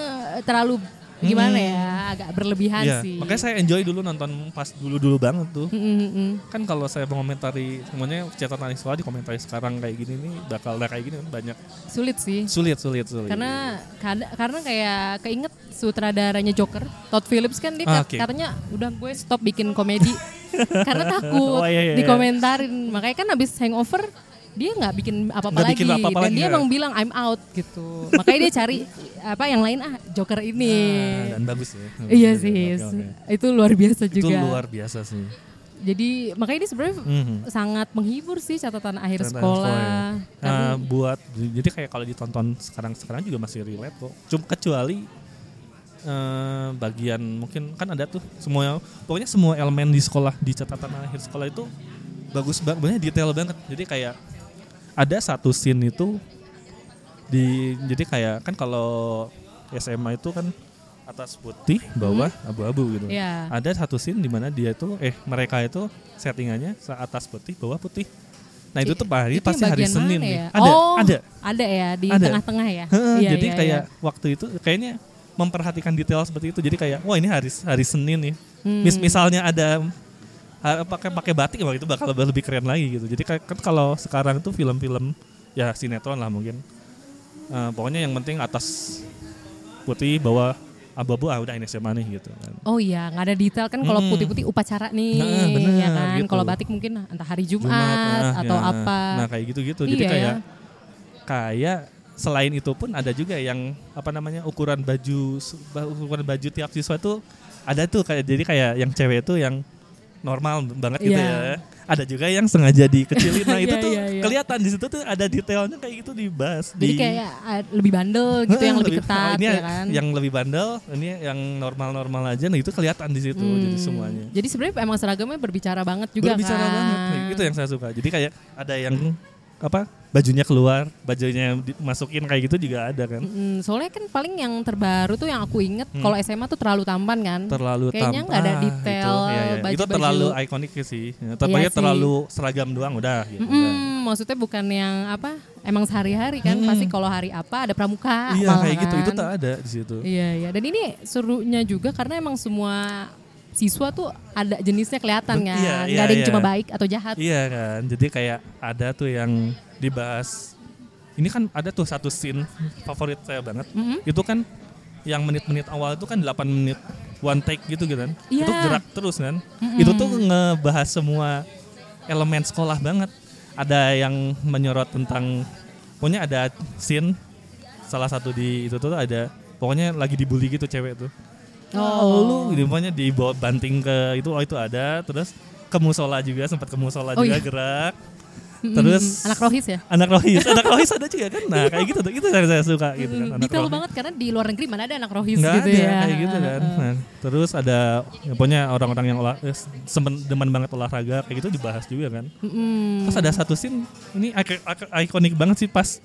[SPEAKER 1] terlalu gimana ya, agak berlebihan
[SPEAKER 6] Iya,
[SPEAKER 1] sih.
[SPEAKER 6] makanya saya enjoy dulu nonton pas dulu-dulu banget tuh.
[SPEAKER 1] Mm, mm, mm.
[SPEAKER 6] Kan kalau saya mengomentari semuanya catatan sekolah dikomentari sekarang kayak gini nih bakal udah kayak gini kan banyak
[SPEAKER 1] Sulit sih.
[SPEAKER 6] sulit sulit sulit.
[SPEAKER 1] Karena kad- karena kayak keinget sutradaranya Joker, Todd Phillips kan dia
[SPEAKER 6] Ah,
[SPEAKER 1] kat-
[SPEAKER 6] oke.
[SPEAKER 1] katanya udah gue stop bikin komedi karena takut
[SPEAKER 6] Oh, iya, iya, iya.
[SPEAKER 1] dikomentarin. Makanya kan habis hangover dia nggak bikin apa-apa
[SPEAKER 6] Nggak
[SPEAKER 1] lagi
[SPEAKER 6] bikin apa-apa
[SPEAKER 1] dan
[SPEAKER 6] lagi,
[SPEAKER 1] dia
[SPEAKER 6] ya.
[SPEAKER 1] emang bilang I'm out gitu. Makanya dia cari apa yang lain ah Joker ini.
[SPEAKER 6] Ah, dan bagus ya.
[SPEAKER 1] iya
[SPEAKER 6] Oke,
[SPEAKER 1] sih.
[SPEAKER 6] oke, oke.
[SPEAKER 1] Itu luar biasa
[SPEAKER 6] Itu
[SPEAKER 1] juga.
[SPEAKER 6] luar biasa sih.
[SPEAKER 1] Jadi makanya ini sebenarnya
[SPEAKER 6] Mhm.
[SPEAKER 1] sangat menghibur sih catatan akhir
[SPEAKER 6] Ternyata
[SPEAKER 1] sekolah.
[SPEAKER 6] sekolah ya. Nah, buat jadi kayak kalau ditonton sekarang-sekarang juga masih relate kok. Cuma kecuali eh, bagian mungkin kan ada tuh semua pokoknya semua elemen di sekolah di catatan akhir sekolah itu bagus banget, banyak detail banget. Jadi kayak ada satu scene itu di jadi kayak kan kalau SMA itu kan atas putih, bawah abu-abu gitu.
[SPEAKER 1] Hmm. Iya.
[SPEAKER 6] Ada satu scene di mana dia itu eh mereka itu settingannya se- atas putih, bawah putih. Nah, itu tuh hari
[SPEAKER 1] Itu yang
[SPEAKER 6] pasti hari
[SPEAKER 1] bagian
[SPEAKER 6] Senin
[SPEAKER 1] mana
[SPEAKER 6] nih.
[SPEAKER 1] ya?
[SPEAKER 6] Ada,
[SPEAKER 1] Oh,
[SPEAKER 6] ada.
[SPEAKER 1] Ada ya di
[SPEAKER 6] Ada.
[SPEAKER 1] tengah-tengah ya.
[SPEAKER 6] Heeh,
[SPEAKER 1] Iya,
[SPEAKER 6] jadi
[SPEAKER 1] iya,
[SPEAKER 6] kayak
[SPEAKER 1] iya.
[SPEAKER 6] waktu itu kayaknya memperhatikan detail seperti itu. Jadi kayak wah ini hari hari Senin nih.
[SPEAKER 1] Hmm.
[SPEAKER 6] Mis misalnya ada ha- pakai pakai batik wah itu bakal lebih keren lagi gitu. Jadi kayak- kan kalau sekarang tuh film-film ya sinetron lah mungkin. Eh, pokoknya yang penting atas putih, bawah abu-abu ah udah ini SMA nih gitu kan.
[SPEAKER 1] Oh iya, nggak ada detail kan kalau
[SPEAKER 6] Mm.
[SPEAKER 1] putih-putih upacara nih,
[SPEAKER 6] Nah, bener,
[SPEAKER 1] ya kan.
[SPEAKER 6] gitu.
[SPEAKER 1] Kalau batik mungkin entah hari Jumat,
[SPEAKER 6] ah,
[SPEAKER 1] atau
[SPEAKER 6] ya.
[SPEAKER 1] apa.
[SPEAKER 6] Nah kayak gitu-gitu. Jadi
[SPEAKER 1] Iya,
[SPEAKER 6] kayak
[SPEAKER 1] ya.
[SPEAKER 6] kayak selain itu pun ada juga yang apa namanya ukuran baju ukuran baju tiap siswa tuh ada tuh kayak jadi kayak yang cewek itu yang normal banget gitu
[SPEAKER 1] Iya.
[SPEAKER 6] ya. Ada juga yang sengaja dikecilin. Nah, itu
[SPEAKER 1] Iya,
[SPEAKER 6] tuh
[SPEAKER 1] iya, iya.
[SPEAKER 6] kelihatan di situ tuh ada detailnya kayak gitu dibahas
[SPEAKER 1] jadi
[SPEAKER 6] di
[SPEAKER 1] kayak ah, lebih bandel gitu
[SPEAKER 6] Heeh,
[SPEAKER 1] yang lebih,
[SPEAKER 6] ah,
[SPEAKER 1] ketat
[SPEAKER 6] ini
[SPEAKER 1] ya kan.
[SPEAKER 6] Yang lebih bandel, ini yang normal-normal aja nah itu kelihatan di situ jadi
[SPEAKER 1] Hmm.
[SPEAKER 6] semuanya.
[SPEAKER 1] Jadi sebenarnya emang seragamnya berbicara banget juga
[SPEAKER 6] Berbicara
[SPEAKER 1] kan.
[SPEAKER 6] banget. gitu Itu yang saya suka. Jadi kayak ada yang
[SPEAKER 1] Hmm.
[SPEAKER 6] apa? bajunya keluar, bajunya dimasukin kayak gitu juga ada kan.
[SPEAKER 1] Mm, soalnya kan paling yang terbaru tuh yang aku inget kalau SMA tuh terlalu tampan kan.
[SPEAKER 6] Hmm. Terlalu
[SPEAKER 1] Kayaknya
[SPEAKER 6] tam-
[SPEAKER 1] nggak ada
[SPEAKER 6] ah,
[SPEAKER 1] detail
[SPEAKER 6] Itu, Iya, iya.
[SPEAKER 1] baju-baju.
[SPEAKER 6] Itu terlalu ikonik sih. Ya, Tapi
[SPEAKER 1] Iya sih.
[SPEAKER 6] terlalu seragam doang udah gitu.
[SPEAKER 1] Mm, maksudnya bukan yang apa? Emang sehari-hari kan pasti kalau hari apa ada pramuka
[SPEAKER 6] udah. Hmm. Iya
[SPEAKER 1] malah
[SPEAKER 6] kayak gitu. Itu
[SPEAKER 1] kan.
[SPEAKER 6] tak ada di situ.
[SPEAKER 1] Iya iya. Dan ini serunya juga karena emang semua siswa tuh ada jenisnya kelihatan
[SPEAKER 6] Bet-
[SPEAKER 1] kan.
[SPEAKER 6] iya,
[SPEAKER 1] Nggak
[SPEAKER 6] iya,
[SPEAKER 1] ada yang
[SPEAKER 6] iya.
[SPEAKER 1] cuma baik atau jahat.
[SPEAKER 6] Iya kan. Jadi kayak ada tuh yang dibahas. Ini kan ada tuh satu scene favorit saya banget.
[SPEAKER 1] Mhm.
[SPEAKER 6] Itu kan yang menit-menit awal itu kan 8 menit one take gitu gitu kan.
[SPEAKER 1] Iya.
[SPEAKER 6] Itu gerak terus kan. Itu tuh ngebahas semua elemen sekolah banget. Ada yang menyorot tentang pokoknya ada scene salah satu di itu tuh ada pokoknya lagi dibully gitu cewek tuh. Oh, lu pokoknya dibawa banting ke itu oh itu ada terus ke musola juga sempat ke musola
[SPEAKER 1] Oh,
[SPEAKER 6] juga
[SPEAKER 1] iya.
[SPEAKER 6] gerak.
[SPEAKER 1] Mm-mm.
[SPEAKER 6] Terus
[SPEAKER 1] hmm. anak rohis ya.
[SPEAKER 6] anak rohis, anak rohis ada juga kan. Nah, kayak gitu tuh. Itu saya, saya suka gitu kan. anak
[SPEAKER 1] Hmm, Detail
[SPEAKER 6] rohis.
[SPEAKER 1] banget karena di luar negeri mana ada anak rohis
[SPEAKER 6] Nggak
[SPEAKER 1] gitu
[SPEAKER 6] ada
[SPEAKER 1] ya.
[SPEAKER 6] kayak gitu kan. Nah, terus ada ya, pokoknya orang-orang yang olah, eh, semen- demen banget olahraga kayak gitu dibahas juga kan.
[SPEAKER 1] Mm-mm.
[SPEAKER 6] Terus ada satu scene ini ik- ik- ikonik banget sih pas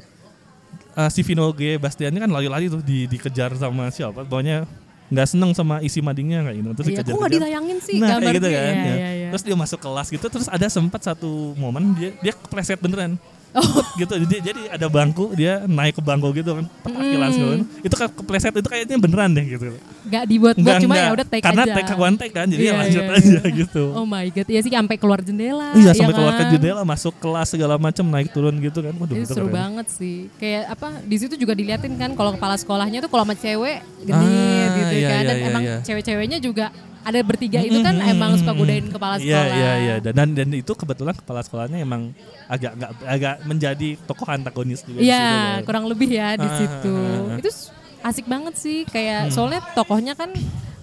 [SPEAKER 6] eh, si Vino G Bastian ini kan lari-lari tuh di- dikejar sama siapa? Pokoknya nggak seneng sama isi madingnya kayak gitu. Terus
[SPEAKER 1] Iya,
[SPEAKER 6] dikejar.
[SPEAKER 1] kok nggak ditayangin sih
[SPEAKER 6] Nah, kayak
[SPEAKER 1] gambarnya?
[SPEAKER 6] gitu kan.
[SPEAKER 1] Iya,
[SPEAKER 6] ya.
[SPEAKER 1] iya, iya.
[SPEAKER 6] Terus dia masuk kelas gitu terus ada sempat satu momen dia dia kepleset beneran.
[SPEAKER 1] Oh.
[SPEAKER 6] gitu jadi, jadi ada bangku dia naik ke bangku gitu kan petakilan
[SPEAKER 1] Hmm.
[SPEAKER 6] segala macam. itu ke- kepleset itu kayaknya beneran deh gitu
[SPEAKER 1] Nggak dibuat-buat
[SPEAKER 6] Nggak,
[SPEAKER 1] cuma
[SPEAKER 6] nggak.
[SPEAKER 1] ya udah take
[SPEAKER 6] karena
[SPEAKER 1] aja.
[SPEAKER 6] take one take kan jadi ya
[SPEAKER 1] Iya,
[SPEAKER 6] lanjut
[SPEAKER 1] iya,
[SPEAKER 6] aja
[SPEAKER 1] iya.
[SPEAKER 6] gitu
[SPEAKER 1] Oh my god, iya sih sampai keluar jendela.
[SPEAKER 6] iya
[SPEAKER 1] ya
[SPEAKER 6] sampai keluar ke
[SPEAKER 1] kan?
[SPEAKER 6] jendela masuk kelas segala macam naik turun gitu kan waduh
[SPEAKER 1] Itu
[SPEAKER 6] itu
[SPEAKER 1] seru
[SPEAKER 6] keren.
[SPEAKER 1] banget sih. Kayak apa? Di situ juga diliatin kan kalau kepala sekolahnya tuh kalau sama cewek genit
[SPEAKER 6] Ah,
[SPEAKER 1] gitu
[SPEAKER 6] iya,
[SPEAKER 1] kan.
[SPEAKER 6] iya,
[SPEAKER 1] Dan
[SPEAKER 6] iya,
[SPEAKER 1] emang
[SPEAKER 6] iya. Mm-hmm,
[SPEAKER 1] cewek-ceweknya juga ada bertiga itu kan emang suka godain kepala
[SPEAKER 6] Iya
[SPEAKER 1] sekolah.
[SPEAKER 6] iya iya dan dan- dan itu kebetulan kepala sekolahnya emang agak agak agak menjadi tokoh antagonis juga. di
[SPEAKER 1] Iya,
[SPEAKER 6] situ kan.
[SPEAKER 1] kurang lebih ya di
[SPEAKER 6] Ah,
[SPEAKER 1] situ.
[SPEAKER 6] ah, Hmm. ah, ah.
[SPEAKER 1] Itu s- asik banget sih kayak soalnya tokohnya kan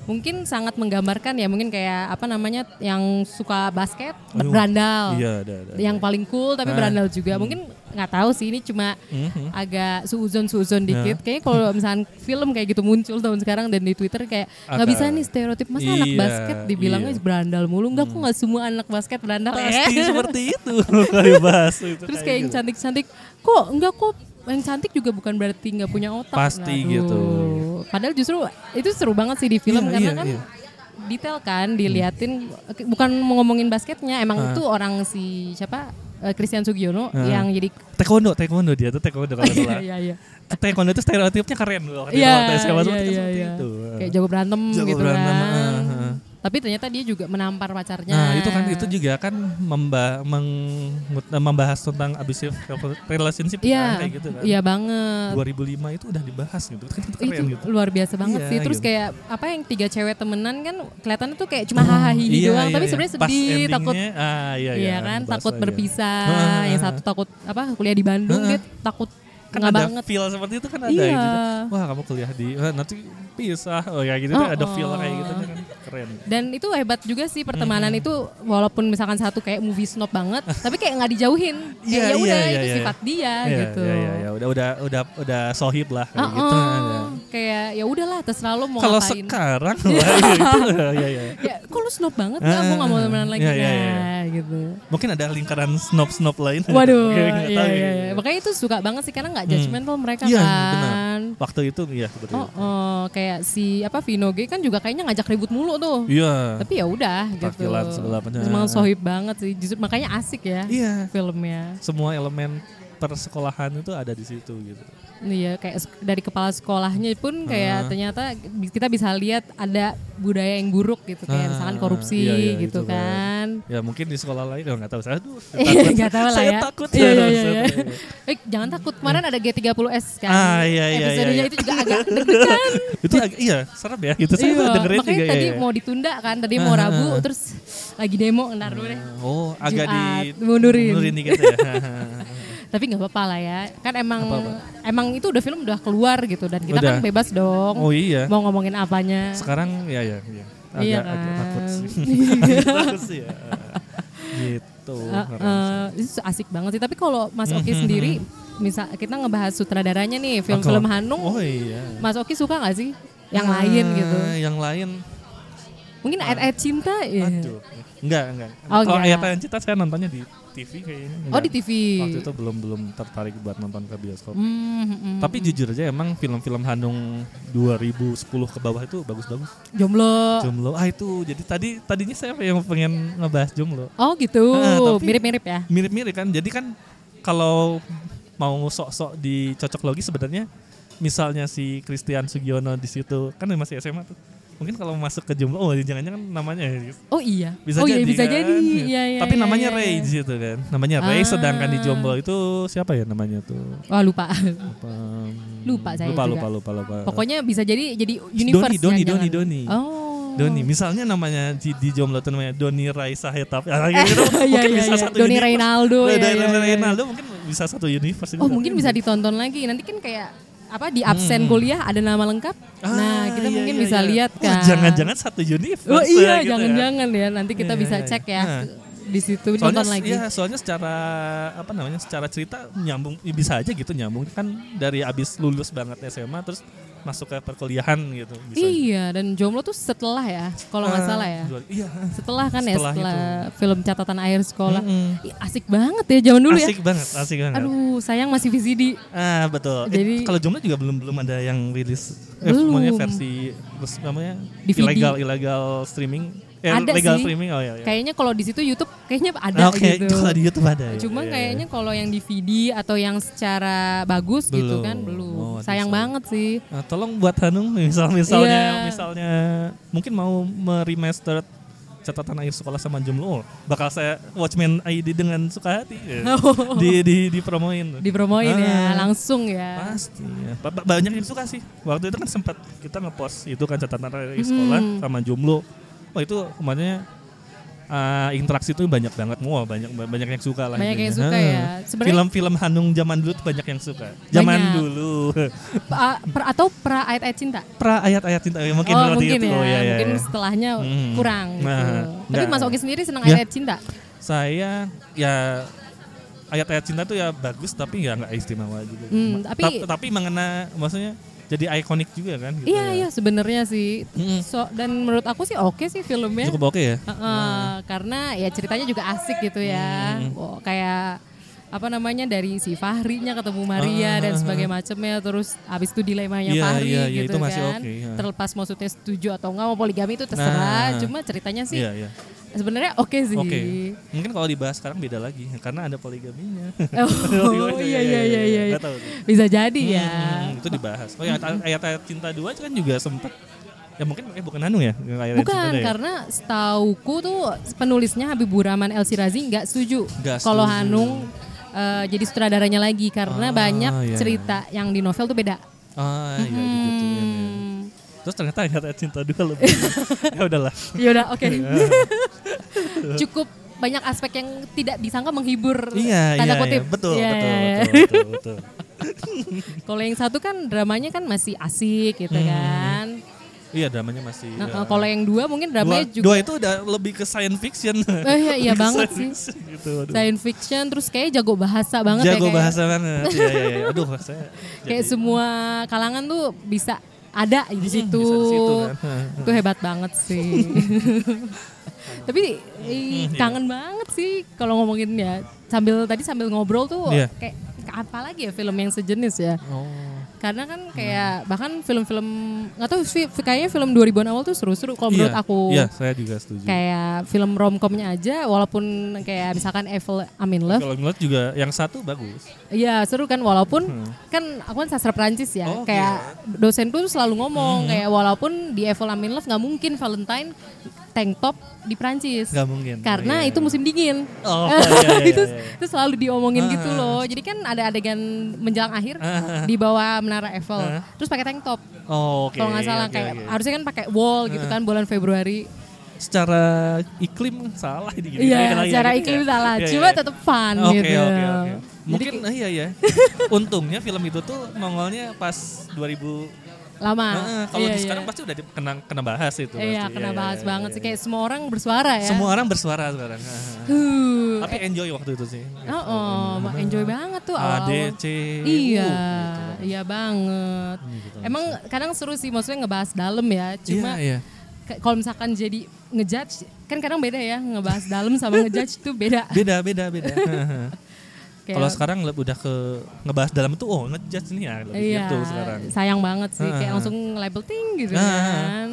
[SPEAKER 1] mungkin sangat menggambarkan ya mungkin kayak apa namanya yang suka basket
[SPEAKER 6] Aduh,
[SPEAKER 1] berandal
[SPEAKER 6] Iya, ada, ada. ada.
[SPEAKER 1] yang paling cool tapi
[SPEAKER 6] Nah.
[SPEAKER 1] berandal juga mungkin nggak tahu sih ini cuma
[SPEAKER 6] Mhm.
[SPEAKER 1] agak suuzon suuzon
[SPEAKER 6] Ah.
[SPEAKER 1] dikit kayaknya kalau misalnya film kayak gitu muncul tahun sekarang dan di twitter kayak nggak
[SPEAKER 6] Agak-
[SPEAKER 1] bisa nih stereotip masa anak
[SPEAKER 6] Iya,
[SPEAKER 1] basket dibilangnya
[SPEAKER 6] iya.
[SPEAKER 1] berandal mulu nggak kok nggak semua anak basket berandal
[SPEAKER 6] pasti
[SPEAKER 1] Eh.
[SPEAKER 6] seperti itu kalau dibahas itu
[SPEAKER 1] terus kayak yang
[SPEAKER 6] gitu.
[SPEAKER 1] cantik-cantik kok enggak kok yang cantik juga bukan berarti nggak punya otak
[SPEAKER 6] Pasti
[SPEAKER 1] Aduh.
[SPEAKER 6] gitu.
[SPEAKER 1] padahal justru itu seru banget sih di film
[SPEAKER 6] Iya,
[SPEAKER 1] karena
[SPEAKER 6] iya,
[SPEAKER 1] kan
[SPEAKER 6] iya. Hmm.
[SPEAKER 1] detail kan diliatin bukan mau ngomongin basketnya emang itu orang si siapa eh, Christian Sugiono
[SPEAKER 6] Ah.
[SPEAKER 1] yang jadi
[SPEAKER 6] taekwondo taekwondo dia tuh taekwondo kalau nggak salah
[SPEAKER 1] iya iya
[SPEAKER 6] taekwondo itu stereotipnya keren loh waktu
[SPEAKER 1] Iya,
[SPEAKER 6] waktu SMA tuh
[SPEAKER 1] iya,
[SPEAKER 6] kan
[SPEAKER 1] iya,
[SPEAKER 6] seperti
[SPEAKER 1] iya.
[SPEAKER 6] itu
[SPEAKER 1] kayak jago berantem
[SPEAKER 6] Jago
[SPEAKER 1] gitu
[SPEAKER 6] berantem,
[SPEAKER 1] kan
[SPEAKER 6] ah, ah.
[SPEAKER 1] tapi ternyata dia juga menampar pacarnya
[SPEAKER 6] nah itu kan itu juga kan memba- meng- membahas tentang abusive relationship kan,
[SPEAKER 1] iya
[SPEAKER 6] kayak gitu kan
[SPEAKER 1] iya banget
[SPEAKER 6] 2005 itu udah dibahas gitu kan itu
[SPEAKER 1] itu
[SPEAKER 6] keren gitu
[SPEAKER 1] luar biasa banget
[SPEAKER 6] Iya,
[SPEAKER 1] sih. Terus
[SPEAKER 6] gitu.
[SPEAKER 1] kayak apa yang tiga cewek temenan kan kelihatannya tuh kayak cuma hahaha doang, tapi sebenarnya
[SPEAKER 6] Iya, Pas
[SPEAKER 1] sedih,
[SPEAKER 6] endingnya,
[SPEAKER 1] takut
[SPEAKER 6] ah, iya,
[SPEAKER 1] iya,
[SPEAKER 6] iya,
[SPEAKER 1] kan,
[SPEAKER 6] dibahas
[SPEAKER 1] takut
[SPEAKER 6] lagi.
[SPEAKER 1] berpisah.
[SPEAKER 6] Ah,
[SPEAKER 1] yang satu takut apa kuliah di Bandung
[SPEAKER 6] Ah,
[SPEAKER 1] dia takut
[SPEAKER 6] kan
[SPEAKER 1] nggak
[SPEAKER 6] ada
[SPEAKER 1] banget.
[SPEAKER 6] feel seperti itu kan ada
[SPEAKER 1] Iya.
[SPEAKER 6] gitu. Wah kamu kuliah di wah, nanti pisah oh ya gitu tuh
[SPEAKER 1] Oh,
[SPEAKER 6] ada feel kayak
[SPEAKER 1] oh.
[SPEAKER 6] gitu kan keren.
[SPEAKER 1] Dan itu hebat juga sih pertemanan itu walaupun misalkan satu kayak movie snob banget, tapi kayak nggak dijauhin. Kayak
[SPEAKER 6] Iya,
[SPEAKER 1] ya udah
[SPEAKER 6] iya,
[SPEAKER 1] itu
[SPEAKER 6] iya,
[SPEAKER 1] sifat dia
[SPEAKER 6] Iya,
[SPEAKER 1] gitu.
[SPEAKER 6] Iya, iya, iya. udah udah udah udah sohib lah kayak
[SPEAKER 1] Ah,
[SPEAKER 6] gitu.
[SPEAKER 1] ah,
[SPEAKER 6] ada.
[SPEAKER 1] kayak ya udahlah terserah lo mau
[SPEAKER 6] Kalau
[SPEAKER 1] ngapain.
[SPEAKER 6] sekarang wah, iya, itu ya, ya.
[SPEAKER 1] ya, kok lu snob banget nggak mau nggak mau temenan lagi
[SPEAKER 6] Iya, iya, iya.
[SPEAKER 1] Nah, gitu.
[SPEAKER 6] Mungkin ada lingkaran snob-snob lain.
[SPEAKER 1] Waduh,
[SPEAKER 6] Oke, nggak
[SPEAKER 1] iya,
[SPEAKER 6] tahu ya.
[SPEAKER 1] iya, iya. makanya itu suka banget sih karena nggak judgmental mereka
[SPEAKER 6] Iya, benar.
[SPEAKER 1] kan.
[SPEAKER 6] Waktu itu iya seperti
[SPEAKER 1] Oh,
[SPEAKER 6] itu.
[SPEAKER 1] oh, kayak si apa Vino G kan juga kayaknya ngajak ribut mulu tuh.
[SPEAKER 6] Iya.
[SPEAKER 1] Tapi ya udah gitu.
[SPEAKER 6] Takilan sebelah penya.
[SPEAKER 1] Emang sohib banget sih. Justru makanya asik ya
[SPEAKER 6] Iya.
[SPEAKER 1] filmnya.
[SPEAKER 6] Semua elemen persekolahan itu ada di situ gitu.
[SPEAKER 1] Iya, kayak sek- dari kepala sekolahnya pun kayak ternyata bi- kita bisa lihat ada budaya yang buruk gitu kayak
[SPEAKER 6] Ah,
[SPEAKER 1] misalkan korupsi
[SPEAKER 6] iya, iya,
[SPEAKER 1] gitu
[SPEAKER 6] itu kan.
[SPEAKER 1] kan.
[SPEAKER 6] Ya mungkin di sekolah lain oh, nggak tahu saya aduh, saya
[SPEAKER 1] Iya,
[SPEAKER 6] takut.
[SPEAKER 1] nggak tahu lah
[SPEAKER 6] saya
[SPEAKER 1] ya.
[SPEAKER 6] takut
[SPEAKER 1] Iya, iya,
[SPEAKER 6] Saya
[SPEAKER 1] iya, iya.
[SPEAKER 6] takut.
[SPEAKER 1] Eh, jangan takut. Kemarin ada G30S kan.
[SPEAKER 6] Ah, iya, iya,
[SPEAKER 1] Episodenya
[SPEAKER 6] iya.
[SPEAKER 1] itu juga agak deg-degan.
[SPEAKER 6] itu agak iya serem ya gitu saya
[SPEAKER 1] kan? Iya,
[SPEAKER 6] dengerin
[SPEAKER 1] makanya
[SPEAKER 6] juga Ah, ya,
[SPEAKER 1] tadi
[SPEAKER 6] ya.
[SPEAKER 1] mau ditunda kan, tadi mau Rabu terus lagi demo ntar dulu deh.
[SPEAKER 6] oh agak di
[SPEAKER 1] Jumat, mundurin.
[SPEAKER 6] mundurin dikit ya
[SPEAKER 1] Tapi nggak apa-apa lah ya. Kan emang emang itu udah film udah keluar gitu dan kita kan
[SPEAKER 6] Udah.
[SPEAKER 1] bebas dong
[SPEAKER 6] oh iya
[SPEAKER 1] mau ngomongin apanya.
[SPEAKER 6] sekarang ya ya, ya. agak
[SPEAKER 1] Iya
[SPEAKER 6] agak
[SPEAKER 1] kan. Iya.
[SPEAKER 6] takut sih Agak takut sih ya gitu
[SPEAKER 1] Eh, eh, itu asik banget sih. Tapi kalau Mas
[SPEAKER 6] Hmm,
[SPEAKER 1] Oki sendiri, misal kita ngebahas sutradaranya nih film-film
[SPEAKER 6] Kalau-
[SPEAKER 1] Hanung,
[SPEAKER 6] oh iya
[SPEAKER 1] Mas Oki suka nggak sih yang lain gitu?
[SPEAKER 6] Ah, yang lain
[SPEAKER 1] Mungkin ayat-ayat cinta ya.
[SPEAKER 6] aduh enggak enggak
[SPEAKER 1] Oh,
[SPEAKER 6] kalau
[SPEAKER 1] enggak.
[SPEAKER 6] ayat yang cinta saya nontonnya di TV kayaknya
[SPEAKER 1] Oh
[SPEAKER 6] enggak.
[SPEAKER 1] di TV.
[SPEAKER 6] waktu itu belum belum tertarik buat nonton ke bioskop
[SPEAKER 1] Hmm, hmm, hmm.
[SPEAKER 6] Tapi jujur aja emang film-film Hanung 2010 ke bawah itu bagus-bagus.
[SPEAKER 1] jomblo.
[SPEAKER 6] Jumlo, ah itu. Jadi tadi tadinya saya yang pengen ngebahas Jumlo.
[SPEAKER 1] Oh gitu.
[SPEAKER 6] Ah, tapi-
[SPEAKER 1] Mirip-mirip ya.
[SPEAKER 6] Mirip-mirip kan. Jadi kan kalau mau sok-sok dicocok logi sebenarnya misalnya si Christian Sugiono di situ kan masih SMA tuh. Mungkin kalau masuk ke Jumlo, oh jangan-jangan namanya ya.
[SPEAKER 1] Oh iya. oh
[SPEAKER 6] bisa jadi,
[SPEAKER 1] iya bisa
[SPEAKER 6] kan?
[SPEAKER 1] jadi.
[SPEAKER 6] Ya.
[SPEAKER 1] Iya, iya,
[SPEAKER 6] Tapi
[SPEAKER 1] iya,
[SPEAKER 6] namanya
[SPEAKER 1] iya,
[SPEAKER 6] Ray
[SPEAKER 1] iya.
[SPEAKER 6] di situ kan. Namanya Ray
[SPEAKER 1] Ah.
[SPEAKER 6] sedangkan di Jomblo itu siapa ya namanya tuh?
[SPEAKER 1] Wah lupa.
[SPEAKER 6] Apa,
[SPEAKER 1] Lupa saya
[SPEAKER 6] lupa,
[SPEAKER 1] juga.
[SPEAKER 6] lupa lupa lupa.
[SPEAKER 1] Pokoknya bisa jadi jadi universe
[SPEAKER 6] Doni,
[SPEAKER 1] jangan-jangan.
[SPEAKER 6] Doni, Doni.
[SPEAKER 1] Oh.
[SPEAKER 6] Doni, misalnya namanya di, di Jomblo tuh namanya Doni Raisa Hetap. Ya, gitu.
[SPEAKER 1] Iya,
[SPEAKER 6] mungkin
[SPEAKER 1] iya,
[SPEAKER 6] bisa
[SPEAKER 1] iya.
[SPEAKER 6] satu
[SPEAKER 1] Doni
[SPEAKER 6] universe.
[SPEAKER 1] Reinaldo,
[SPEAKER 6] Nah,
[SPEAKER 1] iya,
[SPEAKER 6] Doni
[SPEAKER 1] iya, iya.
[SPEAKER 6] Reinaldo mungkin bisa satu universe.
[SPEAKER 1] Oh mungkin bisa ditonton lagi. Nanti kan kayak apa di absen kuliah ada nama lengkap.
[SPEAKER 6] Hmm. Ah,
[SPEAKER 1] nah kita
[SPEAKER 6] iya,
[SPEAKER 1] mungkin
[SPEAKER 6] iya,
[SPEAKER 1] bisa
[SPEAKER 6] iya.
[SPEAKER 1] lihat
[SPEAKER 6] Wah,
[SPEAKER 1] kan.
[SPEAKER 6] Jangan-jangan satu universe.
[SPEAKER 1] Oh
[SPEAKER 6] ya,
[SPEAKER 1] iya
[SPEAKER 6] gitu ya.
[SPEAKER 1] jangan-jangan ya. Nanti kita
[SPEAKER 6] Iya,
[SPEAKER 1] bisa
[SPEAKER 6] iya,
[SPEAKER 1] cek ya.
[SPEAKER 6] iya. Nah.
[SPEAKER 1] Di situ
[SPEAKER 6] Soalnya,
[SPEAKER 1] nonton lagi.
[SPEAKER 6] iya, soalnya secara apa namanya secara cerita nyambung ya bisa aja gitu nyambung kan dari abis lulus banget SMA terus masuk ke perkuliahan gitu bisa.
[SPEAKER 1] Iya, dan jomblo tuh setelah ya, kalau nggak
[SPEAKER 6] Ah,
[SPEAKER 1] salah ya.
[SPEAKER 6] jual- Iya.
[SPEAKER 1] Setelah kan ya,
[SPEAKER 6] Setelah
[SPEAKER 1] setelah
[SPEAKER 6] itu.
[SPEAKER 1] film catatan air sekolah.
[SPEAKER 6] Mm-mm.
[SPEAKER 1] Ih, asik banget ya zaman dulu
[SPEAKER 6] asik
[SPEAKER 1] ya.
[SPEAKER 6] banget, asik banget.
[SPEAKER 1] Aduh, sayang masih VCD.
[SPEAKER 6] Ah betul.
[SPEAKER 1] Jadi-
[SPEAKER 6] Jadi kalau jumlah juga belum belum ada yang rilis.
[SPEAKER 1] Belum.
[SPEAKER 6] semuanya versi terus namanya
[SPEAKER 1] DVD.
[SPEAKER 6] ilegal ilegal streaming. Eh,
[SPEAKER 1] Ada
[SPEAKER 6] legal
[SPEAKER 1] sih.
[SPEAKER 6] streaming oh ya. ya.
[SPEAKER 1] Kayaknya kalau di situ YouTube kayaknya ada
[SPEAKER 6] Nah, oke,
[SPEAKER 1] gitu.
[SPEAKER 6] kalau di YouTube ada. ya.
[SPEAKER 1] Cuma
[SPEAKER 6] Iya, iya.
[SPEAKER 1] kayaknya kalau yang DVD atau yang secara bagus gitu
[SPEAKER 6] Belum.
[SPEAKER 1] kan belum.
[SPEAKER 6] Oh,
[SPEAKER 1] sayang
[SPEAKER 6] aduh, sayang.
[SPEAKER 1] banget sih.
[SPEAKER 6] Nah, tolong buat Hanung misal misalnya
[SPEAKER 1] Iya.
[SPEAKER 6] misalnya mungkin mau meremaster catatan air sekolah sama jumlah oh, bakal saya Watchmen ID dengan suka hati ya. di di dipromoin tuh.
[SPEAKER 1] Dipromoin ya,
[SPEAKER 6] Ah.
[SPEAKER 1] langsung ya.
[SPEAKER 6] Pasti. ya. Ba- ba- Banyak yang suka sih. Waktu itu kan sempat
[SPEAKER 1] Hmm.
[SPEAKER 6] kita ngepost itu kan catatan dari sekolah sama jumlo. Wah itu kemarinnya Oh, eh, interaksi itu banyak banget semua, banyak banyak yang suka lah.
[SPEAKER 1] Banyak yang
[SPEAKER 6] intinya.
[SPEAKER 1] suka ya.
[SPEAKER 6] Heeh.
[SPEAKER 1] Sebenarnya-
[SPEAKER 6] Film-film Hanung zaman dulu tuh banyak yang suka. Zaman
[SPEAKER 1] Banyak.
[SPEAKER 6] dulu.
[SPEAKER 1] Pa- per- atau pra ayat-ayat cinta?
[SPEAKER 6] pra ayat-ayat cinta eh, mungkin
[SPEAKER 1] oh,
[SPEAKER 6] berarti
[SPEAKER 1] mungkin
[SPEAKER 6] itu.
[SPEAKER 1] ya,
[SPEAKER 6] ya, ya,
[SPEAKER 1] mungkin
[SPEAKER 6] ya.
[SPEAKER 1] setelahnya
[SPEAKER 6] Hmm.
[SPEAKER 1] kurang. gitu.
[SPEAKER 6] Nah,
[SPEAKER 1] Tapi
[SPEAKER 6] enggak.
[SPEAKER 1] Mas Oki sendiri senang
[SPEAKER 6] Ya.
[SPEAKER 1] ayat cinta.
[SPEAKER 6] Saya ya ayat-ayat cinta tuh ya bagus tapi ya nggak istimewa juga.
[SPEAKER 1] Hmm,
[SPEAKER 6] Ma-
[SPEAKER 1] tapi-
[SPEAKER 6] tap- tapi mengena maksudnya jadi ikonik juga kan gitu.
[SPEAKER 1] Iya
[SPEAKER 6] ya.
[SPEAKER 1] iya sebenarnya sih.
[SPEAKER 6] Mm-mm.
[SPEAKER 1] So, dan menurut aku sih oke sih filmnya.
[SPEAKER 6] Cukup oke ya.
[SPEAKER 1] Heeh, karena ya ceritanya juga asik gitu ya. Oh, kayak apa namanya dari si Fahrinya ketemu Maria
[SPEAKER 6] Ah,
[SPEAKER 1] dan
[SPEAKER 6] ah,
[SPEAKER 1] sebagainya macamnya terus habis itu dilemanya
[SPEAKER 6] Iya,
[SPEAKER 1] Fahri
[SPEAKER 6] iya, iya,
[SPEAKER 1] gitu
[SPEAKER 6] itu masih
[SPEAKER 1] kan.
[SPEAKER 6] oke, ya.
[SPEAKER 1] Terlepas maksudnya setuju atau enggak mau poligami itu terserah,
[SPEAKER 6] Nah.
[SPEAKER 1] cuma ceritanya sih Iya.
[SPEAKER 6] Iya, iya.
[SPEAKER 1] sebenarnya oke sih.
[SPEAKER 6] Oke. Mungkin kalau dibahas sekarang beda lagi karena ada poligaminya.
[SPEAKER 1] Oh, iya iya iya iya.
[SPEAKER 6] Nggak tahu tuh.
[SPEAKER 1] Bisa jadi ya.
[SPEAKER 6] Hmm, itu dibahas. Oh, yang ayat, ayat, ayat cinta dua aja kan juga sempat ya mungkin eh bukan Hanung ya yang ayat, ayat
[SPEAKER 1] Bukan
[SPEAKER 6] cinta dua ya?
[SPEAKER 1] karena setauku tuh penulisnya Habibur Rahman El Sirazi nggak setuju
[SPEAKER 6] Nggak
[SPEAKER 1] kalau
[SPEAKER 6] setuju.
[SPEAKER 1] Hanung eh, jadi sutradaranya lagi karena
[SPEAKER 6] Ah,
[SPEAKER 1] banyak
[SPEAKER 6] iya, iya.
[SPEAKER 1] cerita yang di novel tuh beda.
[SPEAKER 6] Ah, iya gitu. ya, ya.
[SPEAKER 1] Hmm.
[SPEAKER 6] Terus ternyata ayat, ayat cinta dua lebih. ya udahlah.
[SPEAKER 1] Ya udah oke. Cukup banyak aspek yang tidak disangka menghibur
[SPEAKER 6] Iya,
[SPEAKER 1] tanda
[SPEAKER 6] iya,
[SPEAKER 1] kutip.
[SPEAKER 6] iya. Betul,
[SPEAKER 1] Iya,
[SPEAKER 6] betul,
[SPEAKER 1] iya, iya.
[SPEAKER 6] betul, betul, betul.
[SPEAKER 1] Kalau yang satu kan dramanya kan masih asik gitu kan.
[SPEAKER 6] Hmm. Iya, dramanya masih.
[SPEAKER 1] Nah,
[SPEAKER 6] ya.
[SPEAKER 1] kalau yang dua mungkin
[SPEAKER 6] dua,
[SPEAKER 1] dramanya juga
[SPEAKER 6] dua itu udah lebih ke science fiction.
[SPEAKER 1] Eh, iya, iya
[SPEAKER 6] Lebih ke
[SPEAKER 1] banget
[SPEAKER 6] science
[SPEAKER 1] sih.
[SPEAKER 6] fiction Gitu, aduh.
[SPEAKER 1] science fiction terus kayak jago bahasa banget ya
[SPEAKER 6] Jago
[SPEAKER 1] kayak.
[SPEAKER 6] bahasa banget. Iya, iya, iya. Aduh, saya
[SPEAKER 1] kayak
[SPEAKER 6] jadi-
[SPEAKER 1] semua kalangan tuh bisa ada di situ.
[SPEAKER 6] bisa di situ kan.
[SPEAKER 1] Itu hebat banget sih. Tapi ih,
[SPEAKER 6] iya.
[SPEAKER 1] kangen banget sih kalau ngomongin ya sambil tadi sambil ngobrol tuh
[SPEAKER 6] Iya.
[SPEAKER 1] kayak apa lagi ya film yang sejenis ya.
[SPEAKER 6] Oh.
[SPEAKER 1] Karena kan kayak bahkan film-film nggak tahu sih kayaknya film 2000-an awal tuh seru-seru kalau menurut
[SPEAKER 6] Iya,
[SPEAKER 1] aku.
[SPEAKER 6] Iya, saya juga setuju.
[SPEAKER 1] Kayak film romcomnya aja walaupun kayak misalkan Evil I'm in Love
[SPEAKER 6] Kalau ngeliat juga yang satu bagus.
[SPEAKER 1] Iya seru kan walaupun kan aku kan sastra Perancis ya
[SPEAKER 6] Hmm. Oh, oke. Hmm.
[SPEAKER 1] kayak dosenku tuh selalu ngomong kayak walaupun di Evil I'm in Love nggak mungkin Valentine tank top di Perancis
[SPEAKER 6] Nggak mungkin.
[SPEAKER 1] karena
[SPEAKER 6] Iya,
[SPEAKER 1] itu musim dingin
[SPEAKER 6] Oh, iya, iya,
[SPEAKER 1] itu
[SPEAKER 6] iya, iya. Ah.
[SPEAKER 1] itu selalu diomongin gitu loh jadi kan ada adegan menjelang akhir di bawah menara Eiffel terus pakai tank top
[SPEAKER 6] Oh,
[SPEAKER 1] Iya.
[SPEAKER 6] oke.
[SPEAKER 1] kalau nggak salah
[SPEAKER 6] Ah. oke,
[SPEAKER 1] kayak
[SPEAKER 6] oke. Ah.
[SPEAKER 1] harusnya kan pakai wall gitu kan bulan Februari
[SPEAKER 6] secara iklim salah ini gini.
[SPEAKER 1] Iya,
[SPEAKER 6] Lagi-
[SPEAKER 1] secara
[SPEAKER 6] lagi-
[SPEAKER 1] iklim
[SPEAKER 6] iya.
[SPEAKER 1] salah,
[SPEAKER 6] Iya,
[SPEAKER 1] cuma
[SPEAKER 6] iya.
[SPEAKER 1] tetap fun
[SPEAKER 6] Oke,
[SPEAKER 1] gitu.
[SPEAKER 6] oke, oke.
[SPEAKER 1] Jadi
[SPEAKER 6] Mungkin eh, iya ya. Untungnya film itu tuh nongolnya pas 2000
[SPEAKER 1] lama
[SPEAKER 6] Heeh, Ah, kalau
[SPEAKER 1] Iya,
[SPEAKER 6] di
[SPEAKER 1] iya.
[SPEAKER 6] sekarang pasti udah di- kena kena bahas itu pasti.
[SPEAKER 1] Iya, kena bahas
[SPEAKER 6] iya,
[SPEAKER 1] banget
[SPEAKER 6] iya,
[SPEAKER 1] sih kayak semua orang bersuara
[SPEAKER 6] iya.
[SPEAKER 1] ya.
[SPEAKER 6] Semua orang bersuara sekarang. Heeh.
[SPEAKER 1] Huh.
[SPEAKER 6] Tapi enjoy waktu itu sih.
[SPEAKER 1] Oh,
[SPEAKER 6] iya,
[SPEAKER 1] oh, Mak, enjoy banget tuh awal-awal.
[SPEAKER 6] ADC.
[SPEAKER 1] Iya,
[SPEAKER 6] uh, gitu.
[SPEAKER 1] iya banget. Emang kadang seru sih maksudnya ngebahas dalam ya. Cuma
[SPEAKER 6] Hmm, iya, iya.
[SPEAKER 1] ke- kalau misalkan jadi ngejudge kan kadang beda ya ngebahas dalam sama ngejudge tuh beda.
[SPEAKER 6] Beda, beda, beda. Heeh.
[SPEAKER 1] Kayak-
[SPEAKER 6] Kalau sekarang le- udah ke ngebahas dalam itu oh ngejudge nih ya lebih
[SPEAKER 1] iya,
[SPEAKER 6] gitu sekarang.
[SPEAKER 1] sayang banget sih kayak
[SPEAKER 6] Ah.
[SPEAKER 1] langsung label ting gitu
[SPEAKER 6] Ah.
[SPEAKER 1] kan.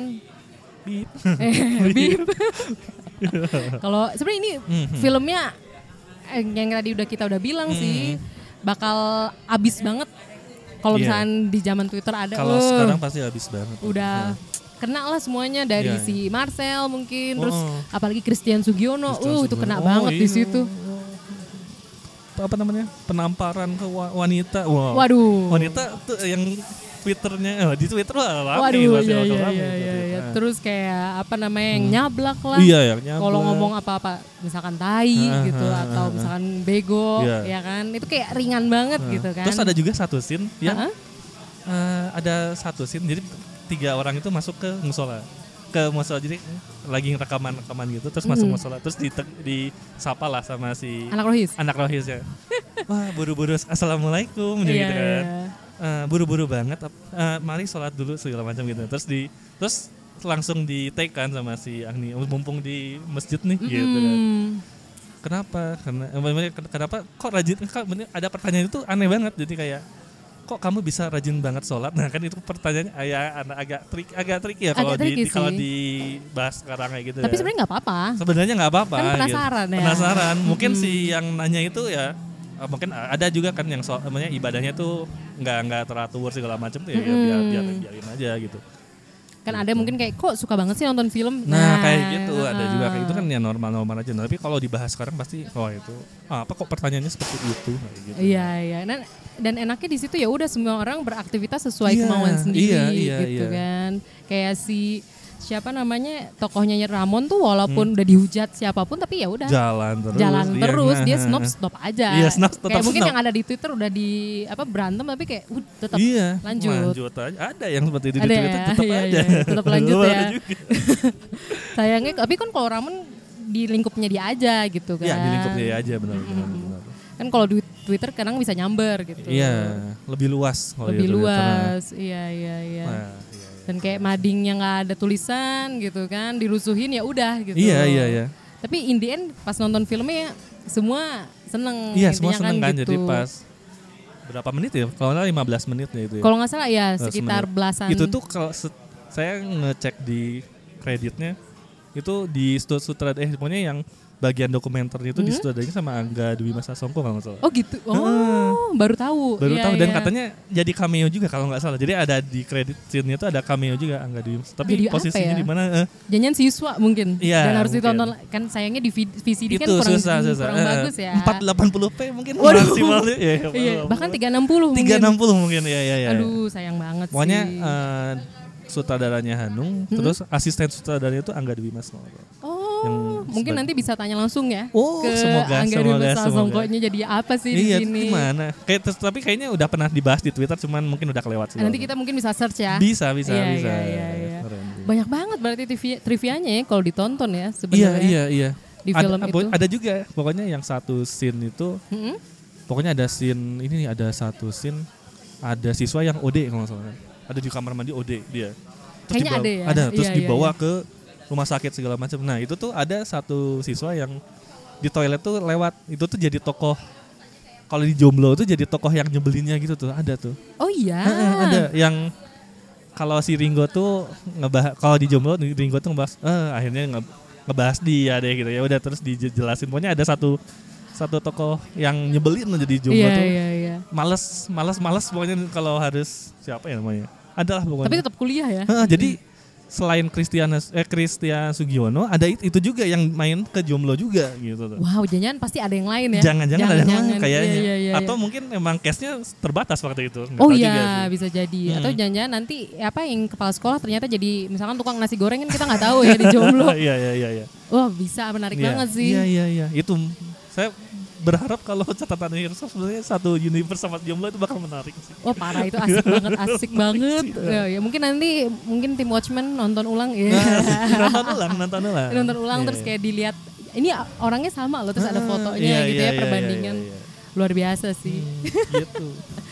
[SPEAKER 6] Bip.
[SPEAKER 1] Bip. Kalau sebenarnya ini
[SPEAKER 6] Mhm.
[SPEAKER 1] filmnya eh, yang tadi udah kita udah bilang sih bakal abis banget kalau
[SPEAKER 6] Mhm. Iya.
[SPEAKER 1] misalkan di zaman Twitter ada
[SPEAKER 6] Kalau
[SPEAKER 1] "Eh,
[SPEAKER 6] sekarang pasti habis banget.
[SPEAKER 1] udah kena lah semuanya dari
[SPEAKER 6] Iya,
[SPEAKER 1] si Marcel mungkin terus
[SPEAKER 6] Oh, oh.
[SPEAKER 1] apalagi Christian Sugiono,
[SPEAKER 6] Christian
[SPEAKER 1] uh itu kena
[SPEAKER 6] Sugiono. Oh,
[SPEAKER 1] banget di
[SPEAKER 6] iya.
[SPEAKER 1] situ.
[SPEAKER 6] apa namanya? Penamparan ke wa- wanita. Wow.
[SPEAKER 1] Waduh.
[SPEAKER 6] Wanita tuh yang Twitternya oh, di Twitter wah, rame
[SPEAKER 1] Waduh,
[SPEAKER 6] pasti
[SPEAKER 1] iya,
[SPEAKER 6] bakal
[SPEAKER 1] iya,
[SPEAKER 6] rame
[SPEAKER 1] iya,
[SPEAKER 6] pasti.
[SPEAKER 1] iya, iya.
[SPEAKER 6] Nah.
[SPEAKER 1] Terus kayak apa namanya yang nyablak lah.
[SPEAKER 6] Iya, yang nyablak.
[SPEAKER 1] Kalau ngomong apa-apa, misalkan tai
[SPEAKER 6] Ah,
[SPEAKER 1] gitu
[SPEAKER 6] ah,
[SPEAKER 1] atau
[SPEAKER 6] ah, ah.
[SPEAKER 1] misalkan bego,
[SPEAKER 6] Iya. Ah.
[SPEAKER 1] ya kan? Itu kayak ringan banget gitu kan.
[SPEAKER 6] Terus ada juga satu scene yang
[SPEAKER 1] Heeh.
[SPEAKER 6] eh, ada satu scene jadi tiga orang itu masuk ke musola ke musola jadi lagi rekaman rekaman gitu terus masuk musola terus di disapa lah sama si
[SPEAKER 1] Hmm. anak rohis.
[SPEAKER 6] anak rohis ya wah buru-buru assalamualaikum gitu,
[SPEAKER 1] Iya,
[SPEAKER 6] gitu
[SPEAKER 1] iya.
[SPEAKER 6] kan Eh, buru-buru banget eh, mari sholat dulu segala macam gitu terus di terus langsung di take kan sama si Agni mumpung di masjid nih gitu kan
[SPEAKER 1] Hmm.
[SPEAKER 6] kenapa karena eh, maksudnya ken- kenapa kok rajin kok bener- ada pertanyaan itu aneh banget jadi kayak kok kamu bisa rajin banget sholat nah kan itu pertanyaannya ah, ya ana- agak trik agak tricky ya kalau
[SPEAKER 1] Agak
[SPEAKER 6] di,
[SPEAKER 1] tricky
[SPEAKER 6] di- kalau
[SPEAKER 1] sih.
[SPEAKER 6] dibahas sekarang kayak gitu
[SPEAKER 1] Tapi
[SPEAKER 6] ya.
[SPEAKER 1] sebenarnya nggak apa-apa.
[SPEAKER 6] sebenarnya nggak apa-apa
[SPEAKER 1] Kan
[SPEAKER 6] gitu.
[SPEAKER 1] penasaran ya. Hmm.
[SPEAKER 6] penasaran mungkin si yang nanya itu ya eh, mungkin ada juga kan yang soal namanya ibadahnya tuh nggak nggak teratur segala macam tuh ya, ya biar, biar
[SPEAKER 1] Hmm.
[SPEAKER 6] biarin aja gitu
[SPEAKER 1] Kan ada mungkin kayak kok suka banget sih nonton film.
[SPEAKER 6] Iya. Nah, kayak gitu ada
[SPEAKER 1] ah.
[SPEAKER 6] juga kayak itu kan ya normal-normal aja. Nah, tapi kalau dibahas sekarang pasti wah itu ah, apa kok pertanyaannya seperti itu kayak gitu.
[SPEAKER 1] Iya, iya. Dan, dan enaknya di situ ya udah semua orang beraktivitas sesuai
[SPEAKER 6] Iya,
[SPEAKER 1] kemauan sendiri
[SPEAKER 6] iya, iya,
[SPEAKER 1] gitu
[SPEAKER 6] iya.
[SPEAKER 1] kan. Kayak si siapa namanya tokohnya Ramon tuh walaupun
[SPEAKER 6] Hmm.
[SPEAKER 1] udah dihujat siapapun tapi ya udah
[SPEAKER 6] jalan terus
[SPEAKER 1] jalan
[SPEAKER 6] iya.
[SPEAKER 1] terus dia
[SPEAKER 6] Nah,
[SPEAKER 1] snob stop aja.
[SPEAKER 6] Iya, snob, tetap
[SPEAKER 1] kayak mungkin
[SPEAKER 6] snob.
[SPEAKER 1] yang ada di Twitter udah di apa berantem tapi kayak uh, tetap
[SPEAKER 6] iya
[SPEAKER 1] lanjut.
[SPEAKER 6] aja. ada yang seperti itu di
[SPEAKER 1] Ada
[SPEAKER 6] Twitter
[SPEAKER 1] ya,
[SPEAKER 6] tetap
[SPEAKER 1] iya,
[SPEAKER 6] aja
[SPEAKER 1] iya, tetap lanjut
[SPEAKER 6] Ada
[SPEAKER 1] ya.
[SPEAKER 6] juga.
[SPEAKER 1] Sayangnya tapi kan kalau Ramon di lingkupnya dia aja gitu kan.
[SPEAKER 6] Iya, di lingkup dia aja benar benar. benar.
[SPEAKER 1] Kan kalau di Twitter kadang bisa nyamber gitu.
[SPEAKER 6] Iya, lebih luas kalau
[SPEAKER 1] Lebih
[SPEAKER 6] gitu ya, karena-
[SPEAKER 1] luas. Iya iya iya.
[SPEAKER 6] Nah, iya, iya.
[SPEAKER 1] Dan kayak madingnya nggak ada tulisan gitu kan, dirusuhin ya udah gitu.
[SPEAKER 6] Iya, iya, iya.
[SPEAKER 1] Tapi in the end pas nonton filmnya ya semua seneng.
[SPEAKER 6] Iya, semua
[SPEAKER 1] intinya
[SPEAKER 6] seneng kan,
[SPEAKER 1] gitu.
[SPEAKER 6] jadi pas berapa menit ya? Kalau nggak salah 15 menit ya itu ya.
[SPEAKER 1] Kalau nggak salah ya
[SPEAKER 6] 15
[SPEAKER 1] sekitar
[SPEAKER 6] menit.
[SPEAKER 1] belasan.
[SPEAKER 6] Itu tuh kalau se- saya ngecek di kreditnya itu di sut- sutra eh pokoknya yang bagian dokumenternya
[SPEAKER 1] Hmm?
[SPEAKER 6] itu disutradarai sama Angga Dwi Mas Sasongko kalau nggak salah.
[SPEAKER 1] Oh gitu. Oh, baru tahu.
[SPEAKER 6] Baru
[SPEAKER 1] Iya,
[SPEAKER 6] tahu dan
[SPEAKER 1] iya.
[SPEAKER 6] katanya jadi cameo juga kalau nggak salah. Jadi ada di kredit scene-nya tuh ada cameo juga Angga Dwi. Mas. Tapi
[SPEAKER 1] Jadi apa
[SPEAKER 6] posisinya
[SPEAKER 1] ya?
[SPEAKER 6] di mana? eh,
[SPEAKER 1] Jangan siswa mungkin
[SPEAKER 6] Iya,
[SPEAKER 1] dan harus
[SPEAKER 6] mungkin.
[SPEAKER 1] ditonton kan sayangnya di vid- VCD kan
[SPEAKER 6] itu
[SPEAKER 1] kurang,
[SPEAKER 6] susah susah. Eh,
[SPEAKER 1] kurang bagus ya.
[SPEAKER 6] 480p mungkin
[SPEAKER 1] Waduh.
[SPEAKER 6] maksimalnya. Iya, iya,
[SPEAKER 1] Iya,
[SPEAKER 6] 480p.
[SPEAKER 1] bahkan 360 mungkin.
[SPEAKER 6] 360 mungkin ya ya ya.
[SPEAKER 1] Aduh, sayang banget
[SPEAKER 6] Pokoknya
[SPEAKER 1] sih. Hmm?
[SPEAKER 6] eh, sutradaranya Hanung, terus asisten sutradaranya itu Angga Dwi Mas. yang
[SPEAKER 1] oh, mungkin
[SPEAKER 6] sebagai-
[SPEAKER 1] nanti bisa tanya langsung ya.
[SPEAKER 6] Oh,
[SPEAKER 1] ke
[SPEAKER 6] semoga,
[SPEAKER 1] Angga Dwi
[SPEAKER 6] semoga,
[SPEAKER 1] Mesa
[SPEAKER 6] semoga.
[SPEAKER 1] Songkoknya jadi apa sih
[SPEAKER 6] Iya,
[SPEAKER 1] di sini? Nah,
[SPEAKER 6] gimana? Kayak terus- tapi kayaknya udah pernah dibahas di Twitter, cuman mungkin udah kelewat sih.
[SPEAKER 1] Nanti kita mungkin bisa search ya.
[SPEAKER 6] bisa bisa
[SPEAKER 1] Iya,
[SPEAKER 6] bisa.
[SPEAKER 1] iya, iya, iya.
[SPEAKER 6] Keren sih.
[SPEAKER 1] Banyak banget berarti TV trivianya ya kalau ditonton ya
[SPEAKER 6] Iya
[SPEAKER 1] sebenarnya.
[SPEAKER 6] iya iya.
[SPEAKER 1] Di
[SPEAKER 6] ada,
[SPEAKER 1] film
[SPEAKER 6] abo-
[SPEAKER 1] itu.
[SPEAKER 6] ada juga pokoknya yang satu scene itu
[SPEAKER 1] Mm-mm.
[SPEAKER 6] pokoknya ada scene ini nih, ada satu scene ada siswa yang OD kalau nggak salah. Ada di kamar mandi OD dia. Terus
[SPEAKER 1] Kayaknya
[SPEAKER 6] dibawa-
[SPEAKER 1] ada ya?
[SPEAKER 6] terus
[SPEAKER 1] Iya, iya,
[SPEAKER 6] dibawa ke rumah sakit segala macam. Nah, itu tuh ada satu siswa yang di toilet tuh lewat. Itu tuh jadi tokoh kalau di jomblo tuh jadi tokoh yang nyebelinnya gitu tuh, ada tuh.
[SPEAKER 1] Oh iya.
[SPEAKER 6] Heeh, ada yang kalau si Ringo tuh ngebahas kalau di jomblo Ringo tuh ngebahas eh akhirnya nge- ngebahas dia deh gitu ya udah terus dijelasin pokoknya ada satu satu tokoh yang nyebelin loh jadi jomblo
[SPEAKER 1] Iya,
[SPEAKER 6] tuh
[SPEAKER 1] iya, iya.
[SPEAKER 6] males males males pokoknya kalau harus siapa ya namanya adalah pokoknya
[SPEAKER 1] Tapi tetap kuliah ya.
[SPEAKER 6] Heeh, jadi selain Christian eh Christian Sugiono ada it- itu juga yang main ke jomblo juga gitu tuh
[SPEAKER 1] Wow, jangan pasti ada yang lain ya.
[SPEAKER 6] jangan-jangan ada yang
[SPEAKER 1] Jangan-jangan.
[SPEAKER 6] lain kayaknya
[SPEAKER 1] Iya, iya, iya,
[SPEAKER 6] atau
[SPEAKER 1] iya.
[SPEAKER 6] mungkin emang case-nya terbatas waktu itu Nggak
[SPEAKER 1] Oh
[SPEAKER 6] tahu juga
[SPEAKER 1] iya
[SPEAKER 6] sih.
[SPEAKER 1] bisa jadi
[SPEAKER 6] Hmm.
[SPEAKER 1] atau jangan-jangan nanti apa yang kepala sekolah ternyata jadi misalkan tukang nasi goreng kan kita nggak tahu ya di jomblo.
[SPEAKER 6] iya iya iya iya
[SPEAKER 1] Wah bisa menarik
[SPEAKER 6] Iya.
[SPEAKER 1] banget sih.
[SPEAKER 6] Iya iya iya. Itu m- saya berharap kalau catatan Heroes sebenarnya satu universe sama Jomblo itu bakal menarik sih.
[SPEAKER 1] Wah parah itu asik banget, asik banget. Ya, ya, mungkin nanti mungkin tim Watchmen nonton ulang ya.
[SPEAKER 6] Nah, nonton ulang, nonton ulang.
[SPEAKER 1] nonton ulang
[SPEAKER 6] Iya,
[SPEAKER 1] terus
[SPEAKER 6] iya.
[SPEAKER 1] kayak dilihat ini orangnya sama loh terus ada
[SPEAKER 6] Ah,
[SPEAKER 1] fotonya
[SPEAKER 6] iya,
[SPEAKER 1] gitu
[SPEAKER 6] iya,
[SPEAKER 1] ya
[SPEAKER 6] iya,
[SPEAKER 1] perbandingan
[SPEAKER 6] iya, iya,
[SPEAKER 1] luar biasa sih.
[SPEAKER 6] gitu.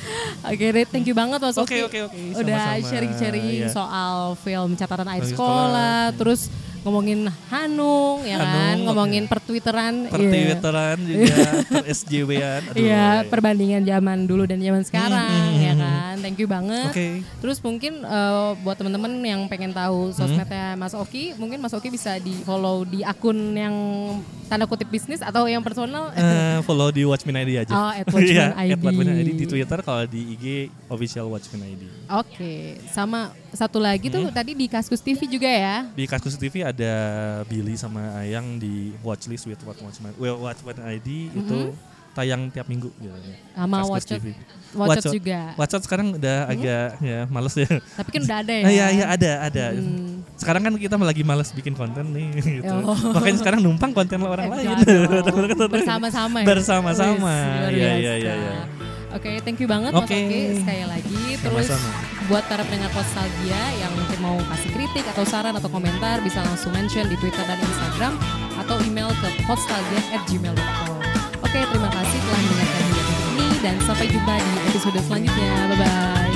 [SPEAKER 1] Oke, Rit, thank you banget Mas Oki.
[SPEAKER 6] Oke, oke, oke,
[SPEAKER 1] Udah
[SPEAKER 6] sama-sama.
[SPEAKER 1] sharing-sharing
[SPEAKER 6] Iya.
[SPEAKER 1] soal film catatan air
[SPEAKER 6] Bagi
[SPEAKER 1] sekolah, terus ngomongin Hanung ya kan,
[SPEAKER 6] Hanung,
[SPEAKER 1] ngomongin pertwitteran.
[SPEAKER 6] Per
[SPEAKER 1] iya.
[SPEAKER 6] Twitteran juga, per SJW-an. Aduh. Hmm,
[SPEAKER 1] Iya, perbandingan zaman dulu dan zaman sekarang ya kan. Thank you banget.
[SPEAKER 6] Oke.
[SPEAKER 1] Terus mungkin eh, buat teman-teman yang pengen tahu
[SPEAKER 6] Hmm.
[SPEAKER 1] sosmednya Mas Oki, mungkin Mas Oki bisa di-follow di akun yang tanda kutip bisnis atau yang personal.
[SPEAKER 6] Eh, follow di Watchmen ID aja.
[SPEAKER 1] Oh, at Watchmen
[SPEAKER 6] Iya,
[SPEAKER 1] ID.
[SPEAKER 6] at Watchmen ID di Twitter kalau di IG official Watchmen ID.
[SPEAKER 1] Oke, sama satu lagi tuh
[SPEAKER 6] Hmm.
[SPEAKER 1] tadi di Kaskus TV juga ya.
[SPEAKER 6] Di Kaskus TV ada Billy sama Ayang di Watchlist with Watchmen, well, Watchmen ID itu tayang tiap minggu gitu.
[SPEAKER 1] Mm-hmm. Sama
[SPEAKER 6] Kaskus
[SPEAKER 1] Watchet,
[SPEAKER 6] TV.
[SPEAKER 1] Watchet
[SPEAKER 6] Watchet.
[SPEAKER 1] juga.
[SPEAKER 6] WhatsApp sekarang udah agak ya males ya.
[SPEAKER 1] Tapi kan udah ada ya. Hmm.
[SPEAKER 6] Ah, Iya iya ada ada. Sekarang kan kita lagi males bikin konten nih gitu.
[SPEAKER 1] Oh.
[SPEAKER 6] Makanya sekarang numpang konten orang
[SPEAKER 1] Eh,
[SPEAKER 6] lain.
[SPEAKER 1] enggak dong. Bersama-sama ya.
[SPEAKER 6] Bersama-sama.
[SPEAKER 1] Wih, luar
[SPEAKER 6] Iya,
[SPEAKER 1] biasa.
[SPEAKER 6] iya, iya, iya.
[SPEAKER 1] Oke, thank you banget Mas
[SPEAKER 6] Oke.
[SPEAKER 1] Oki sekali lagi. Terus
[SPEAKER 6] Sama-sama.
[SPEAKER 1] buat para pendengar nostalgia yang mungkin mau kasih kritik atau saran atau komentar bisa langsung mention di Twitter dan Instagram atau email ke postalgia@gmail.com. Oke, terima kasih telah mendengarkan video ini dan sampai jumpa di episode selanjutnya. Bye bye.